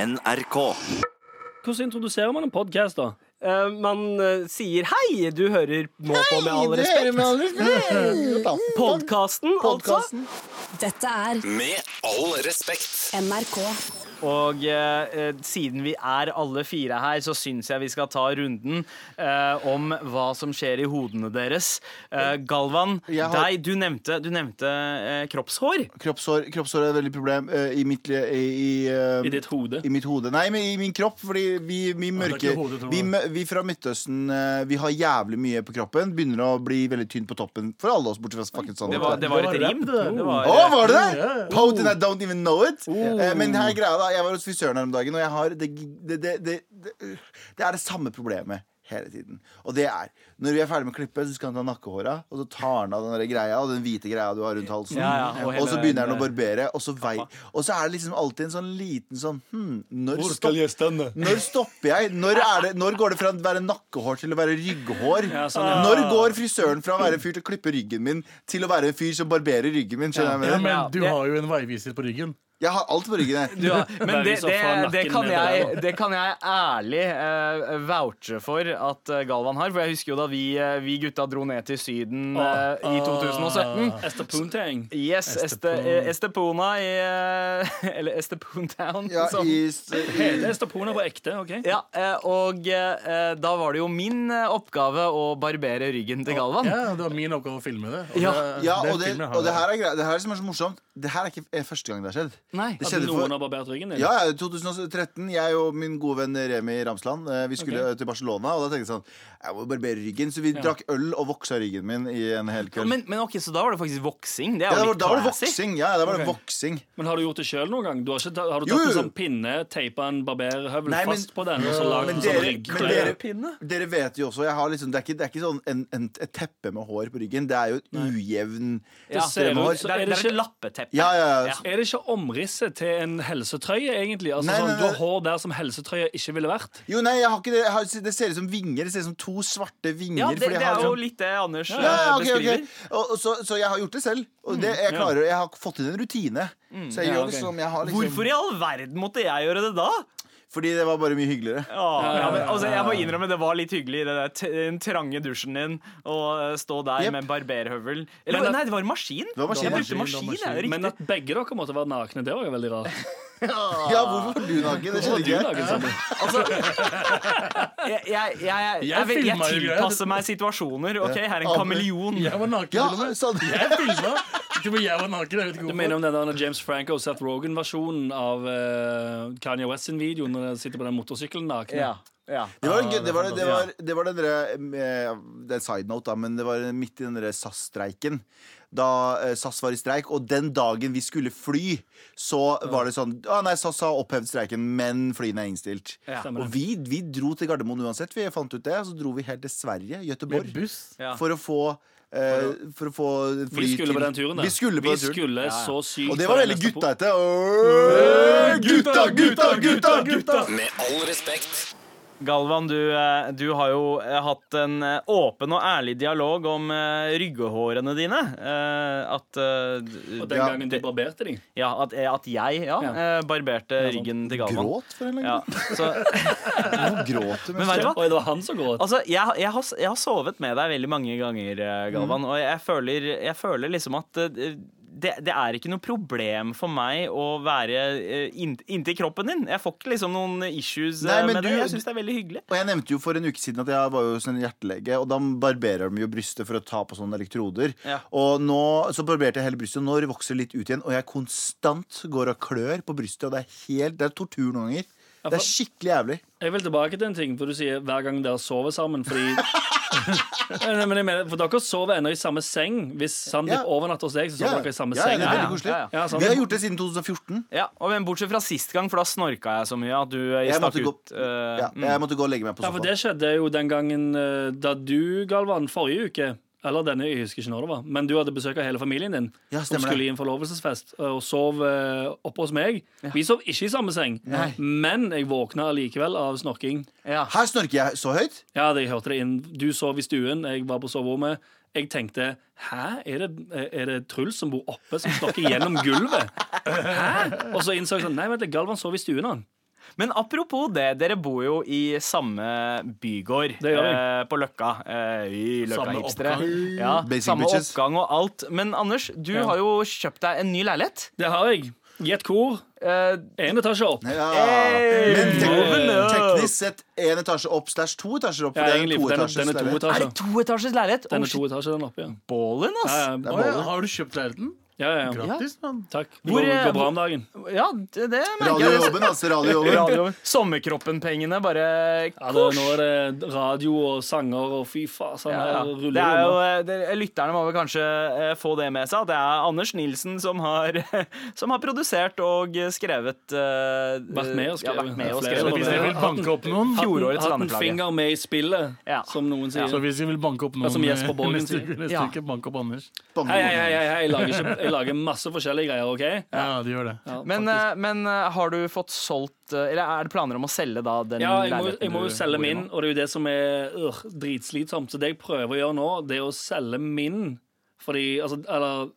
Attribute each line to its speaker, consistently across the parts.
Speaker 1: NRK.
Speaker 2: Hvordan introduserer man en podkast, da?
Speaker 3: Eh, man eh, sier hei, du hører nå på med all respekt. Podkasten, altså.
Speaker 4: Podkasten.
Speaker 5: Dette er
Speaker 1: Med all respekt.
Speaker 5: NRK.
Speaker 3: Og eh, eh, siden vi er alle fire her, så syns jeg vi skal ta runden eh, om hva som skjer i hodene deres. Eh, Galvan,
Speaker 4: Jeg har-
Speaker 3: deg, du nevnte, du nevnte eh, kroppshår.
Speaker 4: Kroppshår, kroppshår er et veldig problem eh, i, mitt, li- i, i, eh,
Speaker 2: I ditt hode?
Speaker 4: I mitt hode. Nei, men i min kropp. Fordi vi, vi
Speaker 2: det er
Speaker 4: mørke
Speaker 2: ikke hodet, tror
Speaker 4: vi,
Speaker 2: jeg.
Speaker 4: mø- vi fra Midtøsten eh, Vi har jævlig mye på kroppen. Begynner å bli veldig tynt på toppen for alle oss, bortsett fra fuckings
Speaker 3: Det var, det var et
Speaker 6: Det var
Speaker 3: rim.
Speaker 6: rap, det.
Speaker 3: Det var,
Speaker 4: Å, var det det?
Speaker 6: Ja, ja.
Speaker 4: Potent, I don't even know it. Eh, men her er greia da Jeg var hos frisøren her om dagen, og jeg har det, det, det, det, det, det er det samme problemet hele tiden. Og det er når vi er ferdig med klippet, så skal han ta nakkehåra, og så tar han av den der greia og den hvite greia du har rundt halsen,
Speaker 3: Ja, ja, og
Speaker 4: og,
Speaker 3: hele
Speaker 4: så begynner han å
Speaker 3: den-
Speaker 4: barbere, og så vei Og så er det liksom alltid en sånn liten sånn Hm, når
Speaker 6: Hvor
Speaker 4: stopp-
Speaker 6: skal jeg stemme?
Speaker 4: når stopper jeg? Når, er det, når går det fra å være nakkehår til å være rygghår?
Speaker 2: Ja, sånn, ja.
Speaker 4: Når går frisøren fra å være en fyr til å klippe ryggen min, til å være en fyr som barberer ryggen min? Skjønner jeg hva
Speaker 6: Ja,
Speaker 4: jeg mener?
Speaker 3: Ja,
Speaker 6: men du
Speaker 3: det-
Speaker 6: har jo en veiviser på ryggen.
Speaker 4: Jeg har alt på ryggen, jeg.
Speaker 3: Du, ja. Men
Speaker 2: Bare
Speaker 3: det,
Speaker 2: hvis han
Speaker 3: det,
Speaker 2: får
Speaker 3: det,
Speaker 2: nakken
Speaker 3: kan
Speaker 2: ned
Speaker 3: jeg,
Speaker 2: der, da.
Speaker 3: det kan jeg ærlig eh, vouche for at eh, Galvan har. For jeg husker jo da vi, eh, vi gutta dro ned til Syden eh, i 2017.
Speaker 2: Estapuntang.
Speaker 3: Yes, Este, eh, Estepona i eh, Eller Estepontown.
Speaker 4: Ja,
Speaker 3: som-
Speaker 4: i, s- i,
Speaker 2: Hele Estapona på ekte, OK?
Speaker 3: ja, eh, og eh, da var det jo min eh, oppgave å barbere ryggen til Galvan.
Speaker 6: Ja, Det var min oppgave å filme det.
Speaker 3: Ja.
Speaker 6: det-
Speaker 4: ja,
Speaker 6: den
Speaker 4: og det,
Speaker 6: filmen har
Speaker 4: og det
Speaker 6: jeg.
Speaker 4: her er greia. Det her som er så morsomt, det her er ikke eh, første gang det har skjedd.
Speaker 3: Nei.
Speaker 4: Det
Speaker 2: At
Speaker 4: skjedde
Speaker 2: noen
Speaker 4: for
Speaker 2: har barbert ryggen din?
Speaker 4: ja, ja, 2013. Jeg og min gode venn Remi Ramsland eh, Vi skulle til Barcelona, og da tenkte jeg sånn Jeg må barbere ryggen. Så vi drakk øl og voksa ryggen min i en hel kveld.
Speaker 3: Men, men ok, Så da var det faktisk voksing? Det
Speaker 4: ja,
Speaker 3: er
Speaker 4: da
Speaker 3: jo
Speaker 4: var
Speaker 3: litt
Speaker 4: da var det
Speaker 3: classy.
Speaker 4: voksing. Ja, da var det
Speaker 3: Ok.
Speaker 4: voksing.
Speaker 2: Men har du gjort det sjøl noen gang? Du har, ikke, ta- har du
Speaker 4: Jo,
Speaker 2: tatt
Speaker 4: jo, jo.
Speaker 2: en sånn pinne, teipa en barberhøvel
Speaker 4: Nei, men-
Speaker 2: fast på den, og så lagd
Speaker 4: Men
Speaker 2: en sånn
Speaker 4: dere- men
Speaker 2: ryggkløe?
Speaker 4: dere- Dere vet jo også, jeg har liksom, Det er ikke, det er ikke sånn en, en, et teppe med hår på ryggen. Det er jo et ujevn
Speaker 3: Ja.
Speaker 2: ser ut-
Speaker 4: strøm av hår.
Speaker 2: så
Speaker 3: Det er,
Speaker 2: er
Speaker 3: det
Speaker 2: det
Speaker 3: er et
Speaker 2: ikke-
Speaker 3: lappeteppe.
Speaker 4: Ja, ja, ja.
Speaker 3: Ja.
Speaker 2: Er det ikke omrisset til en helsetrøye, egentlig? Altså
Speaker 4: Nei,
Speaker 2: sånn,
Speaker 4: nei,
Speaker 2: Du har
Speaker 4: nei.
Speaker 2: hår der som helsetrøya ikke ville vært.
Speaker 4: Jo, nei, jeg har ikke det. Jeg har, det ser ut som vinger. Det ser ut som to svarte vinger.
Speaker 3: Ja, det,
Speaker 4: fordi jeg
Speaker 3: det
Speaker 4: har
Speaker 3: er jo
Speaker 4: sånn-
Speaker 3: litt det Anders
Speaker 4: ja, ja,
Speaker 3: eh,
Speaker 4: ok, ok.
Speaker 3: beskriver.
Speaker 4: Og, og så, så jeg har gjort det selv. Og det, jeg, klarer, jeg har fått inn en rutine. Så jeg
Speaker 2: ja,
Speaker 4: gjør
Speaker 2: ok.
Speaker 4: liksom, jeg har liksom
Speaker 3: Hvorfor i all verden måtte jeg gjøre det da?
Speaker 4: Fordi det var bare mye hyggeligere.
Speaker 3: Åh,
Speaker 2: ja,
Speaker 3: ja, men,
Speaker 2: ja,
Speaker 3: altså, jeg må innrømme det var litt hyggelig i det der t- den trange dusjen din å eh, stå der
Speaker 4: Jep.
Speaker 3: med en barberhøvel. Eller
Speaker 2: Men at-
Speaker 3: nei, det var en maskin.
Speaker 4: var maskin,
Speaker 3: jeg brukte
Speaker 6: ja.
Speaker 3: maskin.
Speaker 6: Det var
Speaker 3: er det
Speaker 2: Men
Speaker 3: riktig.
Speaker 2: at begge dere måtte være nakne, det var jo veldig rart.
Speaker 4: Ja, hvorfor var du naken? Det skjedde
Speaker 2: Hvorfor var du sånn.
Speaker 4: ikke.
Speaker 2: naken sammen?
Speaker 3: Jeg, jeg, jeg, jeg, jeg,
Speaker 6: Jeg
Speaker 3: jeg,
Speaker 6: filma jo greia.
Speaker 3: tilpasser meg situasjoner. Ok, Her er en
Speaker 4: Ja.
Speaker 3: kameleon.
Speaker 6: Jeg var naken.
Speaker 4: Ja,
Speaker 6: til og med.
Speaker 4: sånn.
Speaker 6: Jeg filma. Ikke men jeg var naken. Jeg vet ikke
Speaker 2: Du
Speaker 6: hvorfor.
Speaker 2: mener om den der James Franco og Seth Rogan-versjonen av eh, Kanye West sin video når de sitter på den motorsykkelen nakne?
Speaker 3: Ja, ja.
Speaker 4: Det var, gøy- det var, det var, det var den derre eh, Det er en side note, da, men det var midt i den derre SAS-streiken. Da eh, SAS var i streik, og den dagen vi skulle fly, så var det sånn ah, Nei, SAS har opphevd streiken, men flyene er innstilt.
Speaker 3: Ja.
Speaker 2: Stemmer
Speaker 4: Og
Speaker 2: det.
Speaker 4: vi, vi dro til Gardermoen uansett, vi fant ut det. Og så dro vi helt til Sverige, Gøteborg,
Speaker 6: Med buss.
Speaker 3: Ja.
Speaker 4: for å få eh, for å få fly
Speaker 2: Vi skulle
Speaker 4: til-
Speaker 2: på den turen, da.
Speaker 4: Vi skulle på
Speaker 2: Vi
Speaker 4: den turen.
Speaker 2: skulle så sykt
Speaker 4: Og det var
Speaker 2: på
Speaker 4: veldig
Speaker 2: den neste
Speaker 4: gutta etter. Åh, Gutta, gutta, gutta, gutta!
Speaker 1: Med all respekt.
Speaker 3: Galvan, du, eh, du har jo eh, hatt en eh, åpen og ærlig dialog om eh, ryggehårene dine. Eh, At, eh, d-
Speaker 2: Og den
Speaker 4: Ja,
Speaker 2: gangen de barberte de.
Speaker 3: ja, at, at jeg ja,
Speaker 2: Ja.
Speaker 3: eh, barberte
Speaker 2: sant.
Speaker 3: ryggen til Galvan.
Speaker 4: Gråt for en
Speaker 3: Ja,
Speaker 4: eller annen
Speaker 3: så,
Speaker 4: grunn. Hvorfor gråt du?
Speaker 3: men vet du hva?
Speaker 2: Oi, det var han som gråt.
Speaker 3: Altså, jeg, jeg, har, jeg har sovet med deg veldig mange ganger, eh, Galvan, og jeg føler, jeg føler liksom at eh, det, det er ikke noe problem for meg å være eh, inn- inntil kroppen din. Jeg får ikke liksom noen issues eh,
Speaker 4: Nei, men
Speaker 3: med
Speaker 4: du-
Speaker 3: det. Jeg syns det er veldig hyggelig.
Speaker 4: Og jeg nevnte jo for en uke siden at jeg var jo hos en hjertelege, og da barberer de jo brystet for å ta på sånne elektroder.
Speaker 3: Ja.
Speaker 4: Og nå så barberte jeg hele brystet, og nå vokser det litt ut igjen, og jeg konstant går og klør på brystet, og det er helt Det er tortur noen ganger. Det er skikkelig jævlig.
Speaker 2: Jeg vil tilbake til en ting, for du sier hver gang dere sover sammen. Fordi Nei, men jeg mener, For dere sover ennå i samme seng. Hvis Sandeep
Speaker 4: Ja.
Speaker 2: overnatter hos deg, så
Speaker 4: Ja,
Speaker 2: sover dere i samme
Speaker 4: ja,
Speaker 2: seng.
Speaker 4: det er veldig
Speaker 3: ja,
Speaker 4: koselig.
Speaker 3: ja,
Speaker 2: ja, sant.
Speaker 4: Vi har gjort det siden 2014.
Speaker 3: Ja, og men Bortsett fra sist gang, for da snorka jeg så mye at du eh,
Speaker 4: Jeg
Speaker 3: stakk
Speaker 4: måtte, gå,
Speaker 3: ut. eh,
Speaker 4: ja, jeg måtte gå og legge meg på
Speaker 2: Ja, for
Speaker 4: sofaen.
Speaker 2: det skjedde jo den gangen eh, da du, Galvan, forrige uke eller denne, jeg husker ikke når det var, men du hadde besøk av hele familien din.
Speaker 4: Ja,
Speaker 2: som
Speaker 4: stemmer
Speaker 2: skulle
Speaker 4: det.
Speaker 2: i en forlovelsesfest eh, og sov eh, oppe hos meg. Vi sov ikke i samme seng,
Speaker 4: Nei.
Speaker 2: men jeg våkna allikevel av snorking.
Speaker 3: ja.
Speaker 4: Her snorker jeg så høyt.
Speaker 2: Ja, det, jeg hørte det inn. Du sov i stuen, jeg var på soverommet. Jeg tenkte hæ, er det, er det Truls som bor oppe, som snakker gjennom gulvet? Hæ? Og så innså jeg sånn, nei, vent litt, Galvan sov i stuen, han.
Speaker 3: Men apropos det, dere bor jo i samme bygård
Speaker 2: Det gjør vi.
Speaker 3: eh, på Løkka. Eh, i Løkka
Speaker 6: Samme
Speaker 3: hipstere.
Speaker 6: oppgang.
Speaker 3: Ja,
Speaker 4: Basic
Speaker 3: samme
Speaker 4: bitches.
Speaker 3: oppgang og alt. Men Anders, du
Speaker 2: Ja.
Speaker 3: har jo kjøpt deg en ny leilighet.
Speaker 2: Det har jeg. Gjett hvor.
Speaker 3: Eh,
Speaker 2: Én etasje opp.
Speaker 4: Ja.
Speaker 3: Hey!
Speaker 4: Men
Speaker 3: Moving
Speaker 4: tek
Speaker 3: up!
Speaker 4: teknisk sett én etasje opp slash to etasjer opp. For
Speaker 2: Ja,
Speaker 4: det er
Speaker 2: egentlig,
Speaker 4: en
Speaker 2: for den,
Speaker 4: toetasjes
Speaker 2: den er to
Speaker 4: leilighet.
Speaker 3: er
Speaker 2: etasjer.
Speaker 3: det toetasjes leilighet?
Speaker 2: Den
Speaker 3: Oh,
Speaker 2: er Altså. to
Speaker 3: shit,
Speaker 2: etasjer, den oppe, ja.
Speaker 3: Ballen,
Speaker 2: Ja,
Speaker 3: ass!
Speaker 2: ja,
Speaker 6: Å, ja. Har du kjøpt leiligheten?
Speaker 2: ja, ja, ja.
Speaker 6: Grattis, mann.
Speaker 2: Takk. Det
Speaker 3: Hvor,
Speaker 2: går,
Speaker 3: eh,
Speaker 2: går bra om dagen.
Speaker 3: Ja, det, det merker jeg.
Speaker 4: Radiojobben, altså. Radiojobben.
Speaker 3: Radio- Sommerkroppen-pengene bare
Speaker 2: Ja, det, nå er det radio og sanger og fy faen. Sånn
Speaker 3: Ja, ja.
Speaker 2: her ruller
Speaker 3: Det er jo,
Speaker 2: unna.
Speaker 3: eh, det, lytterne må vel kanskje eh, få det med seg. at Det er Anders Nilsen som har, som har produsert og skrevet eh,
Speaker 2: Vært med og skrevet.
Speaker 3: Ja, vært med og
Speaker 2: Flere
Speaker 3: skrevet.
Speaker 2: låter.
Speaker 6: Hvis jeg vil banke opp noen,
Speaker 3: Fjorårets
Speaker 2: Hatt en
Speaker 3: landeplage.
Speaker 2: finger med i spillet,
Speaker 3: Ja.
Speaker 2: som noen sier.
Speaker 6: så hvis jeg vil banke opp noen
Speaker 2: Ja, som Jesper Borgen
Speaker 6: eh, neste
Speaker 2: sier.
Speaker 6: uke, neste
Speaker 3: Ja.
Speaker 6: uke bank opp Anders.
Speaker 2: Hei, hei, hei, hei, hei. Jeg, lager ikke, jeg lager masse forskjellige greier, OK?
Speaker 6: Ja, de gjør det.
Speaker 2: Ja,
Speaker 3: Men, eh, men eh, har du fått solgt eh, Eller er det planer om å selge da den
Speaker 2: Ja, jeg må, jeg må jo
Speaker 3: du
Speaker 2: selge
Speaker 3: bor i
Speaker 2: min,
Speaker 3: nå?
Speaker 2: og det er jo det som er øh, dritslitsomt. Så det jeg prøver å gjøre nå, det er å selge min. Fordi, altså, eller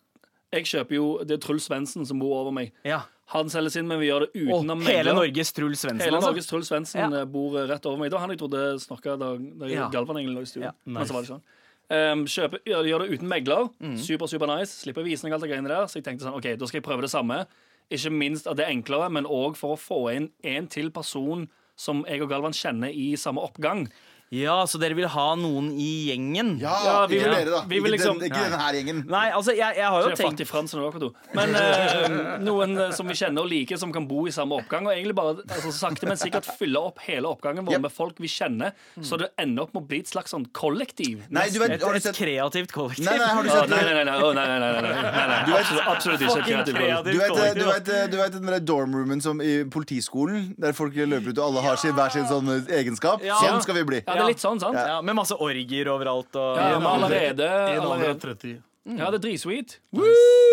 Speaker 2: Jeg kjøper jo Det er Truls Svendsen som bor over meg.
Speaker 3: Ja.
Speaker 2: Han selger sin, men vi gjør det
Speaker 3: Og
Speaker 2: utenom
Speaker 3: hele
Speaker 2: megler.
Speaker 3: Norges Truls Svendsen,
Speaker 2: Hele
Speaker 3: altså?
Speaker 2: Norges Truls Svendsen
Speaker 3: Ja.
Speaker 2: eh, bor eh, rett over meg. Det var han jeg trodde snakka da, da
Speaker 3: Ja.
Speaker 2: Galvan egentlig lå i studio.
Speaker 3: Ja,
Speaker 2: Men så var det ikke han. Ehm, kjøper, gjør, gjør det uten megler.
Speaker 3: Mm.
Speaker 2: Super, super nice. Slipper visning og alt det greiene der. Så jeg tenkte sånn, ok, da skal jeg prøve det samme. Ikke minst at det er enklere, men òg for å få inn en til person som jeg og Galvan kjenner i samme oppgang.
Speaker 3: Ja, så dere vil ha noen i gjengen?
Speaker 4: Ja,
Speaker 2: Ja, vi
Speaker 4: vi
Speaker 2: vil-
Speaker 4: vil dere, da.
Speaker 2: vi vil
Speaker 4: Ikke
Speaker 2: liksom-
Speaker 4: den- Ikke denne her gjengen.
Speaker 3: Nei, altså, jeg, jeg har
Speaker 2: Så
Speaker 3: jo
Speaker 2: det er
Speaker 3: tenkt
Speaker 2: fattig Frans og dere to. Men ehm, noen eh, som vi kjenner og liker, som kan bo i samme oppgang. Og egentlig bare altså, sakte, men sikkert fylle opp hele oppgangen vår
Speaker 4: Yep.
Speaker 2: med folk vi kjenner.
Speaker 3: Mm.
Speaker 2: Så det ender opp med å bli et slags sånn kollektiv.
Speaker 4: Nei, du vet,
Speaker 3: et,
Speaker 4: har du
Speaker 3: et
Speaker 4: sett
Speaker 3: kreativt kollektiv.
Speaker 4: Nei, nei, har du
Speaker 2: Å,
Speaker 4: sett
Speaker 2: nei, nei, nei, nei, å, nei, nei, nei, nei, nei, nei, nei. Absolutt, absolutt ikke.
Speaker 3: Fucking
Speaker 2: kreativ
Speaker 3: kreativ.
Speaker 4: Du vet,
Speaker 2: følelse.
Speaker 4: eh,
Speaker 3: kollektiv,
Speaker 4: du vet, eh, du vet den der dorm-roomen som i politiskolen, der folk løper ut og alle har sin, hver sin sånn eh, egenskap?
Speaker 3: Ja.
Speaker 4: Sånn skal vi bli.
Speaker 2: Ja, det er litt sånn, sant?
Speaker 3: Ja, Med masse orgier overalt. Og,
Speaker 2: Ja, vi har allerede,
Speaker 6: En alder av
Speaker 2: allerede
Speaker 6: 30.
Speaker 2: Ja, det er dritsweet. Woo!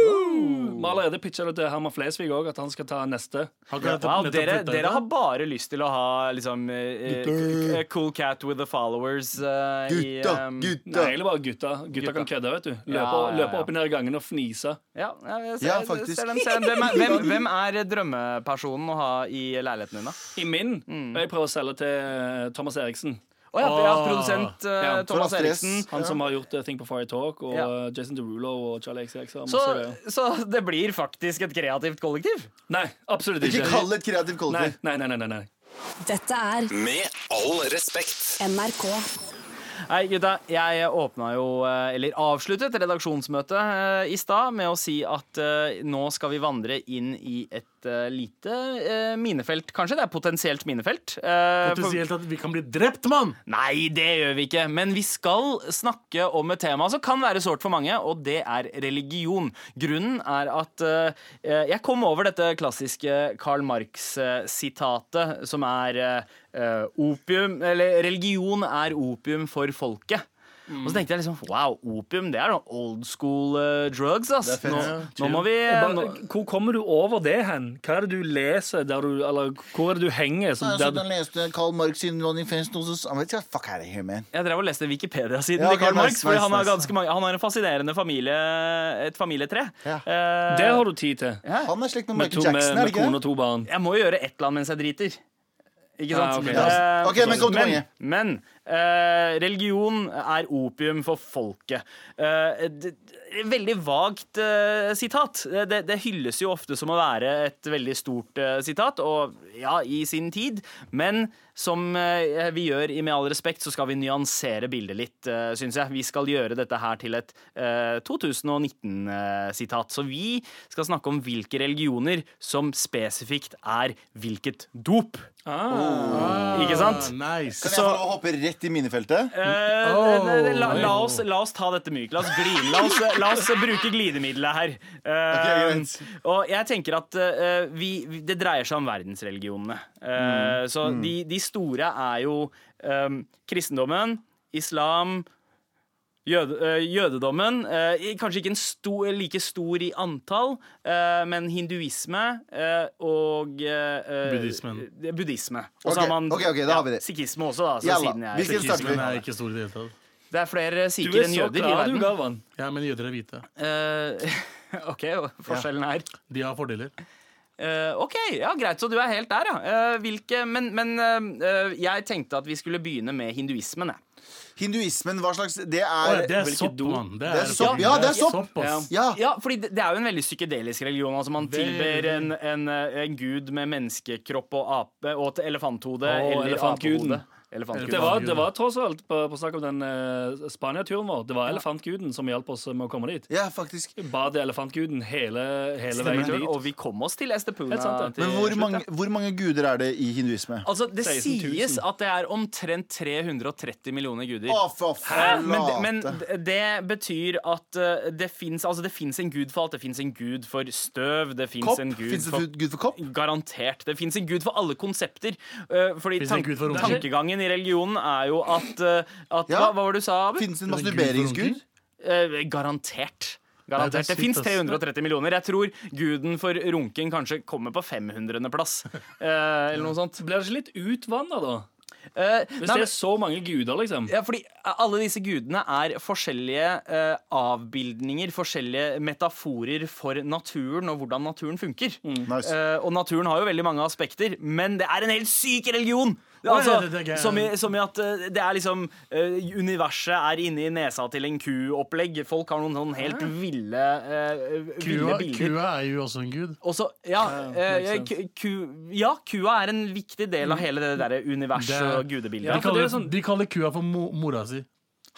Speaker 2: Vi har allerede pitcha det til Herman Flesvig òg, at han skal ta neste.
Speaker 6: Han kan nettopp-
Speaker 3: Wow,
Speaker 6: nettopp
Speaker 3: dere,
Speaker 6: flytte
Speaker 3: dere
Speaker 6: ut.
Speaker 3: har bare lyst til å ha liksom, eh, eh, Cool Cat with the followers eh, i,
Speaker 4: Gutta,
Speaker 3: eh,
Speaker 2: Nei,
Speaker 4: gutta.
Speaker 2: egentlig bare gutta. Gutta kan kødde, vet du.
Speaker 3: Ja,
Speaker 2: Løpe,
Speaker 3: ja, ja.
Speaker 2: løpe opp i ned gangen og fnise.
Speaker 3: Ja, ja, jeg ser,
Speaker 4: Ja,
Speaker 3: jeg
Speaker 4: faktisk.
Speaker 3: Ser den, ser den. Hvem, er, hvem, hvem er drømmepersonen å ha i leiligheten din, da?
Speaker 2: I min. Og jeg prøver å selge til eh, Thomas Eriksen.
Speaker 3: Å ja, ja,
Speaker 6: Åh.
Speaker 3: produsent eh,
Speaker 2: Ja,
Speaker 3: Thomas
Speaker 4: for Astrid S.
Speaker 3: Eriksen.
Speaker 2: Han som har gjort eh, Think på Fire Talk, og
Speaker 3: Ja.
Speaker 2: eh, Jason Derulo og Charlie XCX. og
Speaker 3: Så,
Speaker 2: masse greier.
Speaker 3: så det blir faktisk et kreativt kollektiv.
Speaker 2: Nei, absolutt
Speaker 4: Ikke
Speaker 2: ikke.
Speaker 4: kall det et kreativt
Speaker 2: Nei,
Speaker 4: kollektiv.
Speaker 2: nei, nei, nei, nei, nei.
Speaker 5: Dette er
Speaker 1: Med all respekt.
Speaker 5: NRK.
Speaker 3: Hei, gutta. Jeg åpna jo, eh, eller avsluttet, redaksjonsmøtet eh, i stad med å si at eh, nå skal vi vandre inn i et eh, lite eh, minefelt, kanskje. Det er potensielt minefelt. Eh, for-
Speaker 6: Potensielt at vi kan bli drept, mann!
Speaker 3: Nei, det gjør vi ikke. Men vi skal snakke om et tema som kan være sårt for mange, og det er religion. Grunnen er at eh, jeg kom over dette klassiske Karl Marx-sitatet, som er eh, opium Eller religion er opium for folket. Og så tenkte jeg liksom wow, opium det er noe old school eh, drugs, ass.
Speaker 4: Det er fett.
Speaker 3: Nå, nå må vi nå,
Speaker 2: Bare, hvor kommer du over det hen? Hva er det du leser, der du, eller hvor er det du henger? Som,
Speaker 4: altså,
Speaker 2: der du,
Speaker 4: leste eh, Karl Marx sin manifest, og så Jeg vet ikke hva fuck er det her, man.
Speaker 3: Jeg drev og leste Wikipedia-siden
Speaker 4: Ja,
Speaker 3: til Karl
Speaker 4: ok, nice,
Speaker 3: Marx. fordi
Speaker 4: nice,
Speaker 3: han, har
Speaker 4: nice.
Speaker 3: ganske mange, han har en fascinerende familie, et familietre.
Speaker 4: Ja.
Speaker 3: Eh,
Speaker 2: det har du tid til.
Speaker 4: Han er slekt med
Speaker 2: Med, to,
Speaker 4: Michael
Speaker 2: med,
Speaker 4: Jackson, er
Speaker 2: med
Speaker 4: det ikke
Speaker 2: kone
Speaker 4: det?
Speaker 2: og to barn.
Speaker 3: jeg må jo gjøre et eller annet mens jeg driter. Ikke
Speaker 2: Ja,
Speaker 3: sant?
Speaker 2: ok.
Speaker 4: Ja.
Speaker 3: Eh,
Speaker 4: Ok, men kom til
Speaker 3: men,
Speaker 4: poenget.
Speaker 3: men eh, religion er opium for folket. Eh, det, det- veldig vagt eh, sitat. Det, det hylles jo ofte som å være et veldig stort eh, sitat, og ja, i sin tid. Men som eh, vi gjør i Med all respekt, så skal vi nyansere bildet litt, uh, syns jeg. Vi skal gjøre dette her til et eh, 2019-sitat. eh, så vi skal snakke om hvilke religioner som spesifikt er hvilket dop. Ikke sant?
Speaker 6: Ah, Nice.
Speaker 4: Kan jeg få lov å hoppe rett i minefeltet?
Speaker 3: Eh,
Speaker 6: Oh.
Speaker 3: eh, la, la, oss, la oss ta dette mykt. La oss gline. La oss, la oss bruke glidemiddelet her. Eh,
Speaker 4: Ok, greit.
Speaker 3: og jeg tenker at eh, vi, vi- det dreier seg om verdensreligionene.
Speaker 4: Mm.
Speaker 3: Eh, Så De, de store er jo eh, kristendommen, islam Jøde, eh, jødedommen, eh, i- kanskje ikke en sto- like stor i antall, eh, men hinduisme eh, og eh, eh,
Speaker 6: Buddhismen.
Speaker 3: det- Buddhisme. Og så
Speaker 4: Ok,
Speaker 3: har man
Speaker 4: ok, ok, da har vi det.
Speaker 3: sikhisme også, da. Så
Speaker 4: Jalla,
Speaker 3: siden jeg
Speaker 4: vi skal starte
Speaker 6: Kismen
Speaker 4: med-
Speaker 6: er ikke stor i det hele tatt.
Speaker 3: det er flere
Speaker 2: Du
Speaker 3: sikher
Speaker 2: er
Speaker 3: enn
Speaker 2: så
Speaker 3: jøder i
Speaker 2: klar, du,
Speaker 3: verden.
Speaker 2: Galvan.
Speaker 6: Ja, men jøder er hvite.
Speaker 3: Eh, OK, og forskjellen er
Speaker 6: De har fordeler.
Speaker 3: Eh, ok, ja, greit, så du er helt der, ja. Eh, hvilke, men men eh, eh, jeg tenkte at vi skulle begynne med hinduismen. Jeg.
Speaker 4: Hinduismen, hva slags Det er
Speaker 6: Å, ja, det er
Speaker 2: Hvilket
Speaker 6: sopp,
Speaker 2: do?
Speaker 6: mann.
Speaker 4: Det er sopp. Ja, det er sopp.
Speaker 6: ass.
Speaker 4: Ja.
Speaker 3: Ja, fordi det, det er jo en veldig psykedelisk religion. Altså Man
Speaker 6: Veldig.
Speaker 3: tilber en, en, eh, en gud med menneskekropp og ape og et elefanthode.
Speaker 2: Å,
Speaker 3: eller
Speaker 2: elefantguden.
Speaker 3: apehode. Elefantguden.
Speaker 2: Det var, det var tross alt på, på snakk om den eh, Spania-turen vår. Det var elefantguden som hjalp oss med å komme dit.
Speaker 4: ja, faktisk.
Speaker 2: Bad elefantguden hele, hele
Speaker 3: Stemmer
Speaker 2: veien
Speaker 3: det.
Speaker 2: dit.
Speaker 3: Og vi kom oss til Estepuna.
Speaker 2: Helt sant, det.
Speaker 3: til
Speaker 4: Men hvor
Speaker 3: slutt,
Speaker 4: mange,
Speaker 3: ja.
Speaker 4: hvor mange guder er det i hinduisme? Å,
Speaker 3: Altså, Det
Speaker 2: 16 000.
Speaker 3: sies at det er omtrent 330 millioner guder.
Speaker 4: for
Speaker 3: Hæ? Men, det- men
Speaker 4: flate!
Speaker 3: d- det betyr at eh, det fins altså det finnes en gud for alt. Det fins en gud for støv. Det fins
Speaker 4: Kopp?
Speaker 3: en gud
Speaker 4: Fins det
Speaker 3: for
Speaker 4: en gud for kopp?
Speaker 3: Garantert. Det fins en gud for alle konsepter. Eh, fordi
Speaker 6: Finnes det en
Speaker 3: tank-
Speaker 6: gud for runking?
Speaker 3: tankegangen i religionen er jo at, eh, at
Speaker 4: Ja.
Speaker 3: hva, hva var det du sa, Abu?
Speaker 4: Finnes det en
Speaker 6: Er det en gud for
Speaker 4: masturberingsgud?
Speaker 6: runking?
Speaker 3: Eh, garantert.
Speaker 6: Nei, det er
Speaker 3: Garantert. Det
Speaker 6: sykt,
Speaker 3: fins
Speaker 6: ass.
Speaker 3: 330 millioner. Jeg tror guden for runking kanskje kommer på 500.-plass. eller noe sånt.
Speaker 2: Blir det ikke litt utvanna, da?
Speaker 3: Eh,
Speaker 2: Hvis
Speaker 3: nei, men-
Speaker 2: det er så mange guder, liksom.
Speaker 3: Ja, fordi alle disse gudene er forskjellige eh, avbildninger, forskjellige metaforer for naturen og hvordan naturen funker.
Speaker 6: Mm.
Speaker 4: Nice.
Speaker 3: Eh, og naturen har jo veldig mange aspekter, men det er en helt syk religion!
Speaker 6: ja,
Speaker 3: Altså,
Speaker 6: det- det er gøy.
Speaker 3: som, i, som i at eh, det er liksom eh, Universet er inni nesa til en ku-opplegg. Folk har noen sånn helt ville, eh, ville
Speaker 6: Kua,
Speaker 3: bilder.
Speaker 6: kua er jo også en gud.
Speaker 3: Og så, ja,
Speaker 2: Ja,
Speaker 3: eh,
Speaker 2: makes sense.
Speaker 3: ku, ja, kua er en viktig del av hele det derre universet
Speaker 6: Mm. Det-
Speaker 3: og gudebildet.
Speaker 2: Ja,
Speaker 6: De
Speaker 2: for det
Speaker 6: kaller,
Speaker 2: er sånn-
Speaker 6: de kaller kua for mo mora si.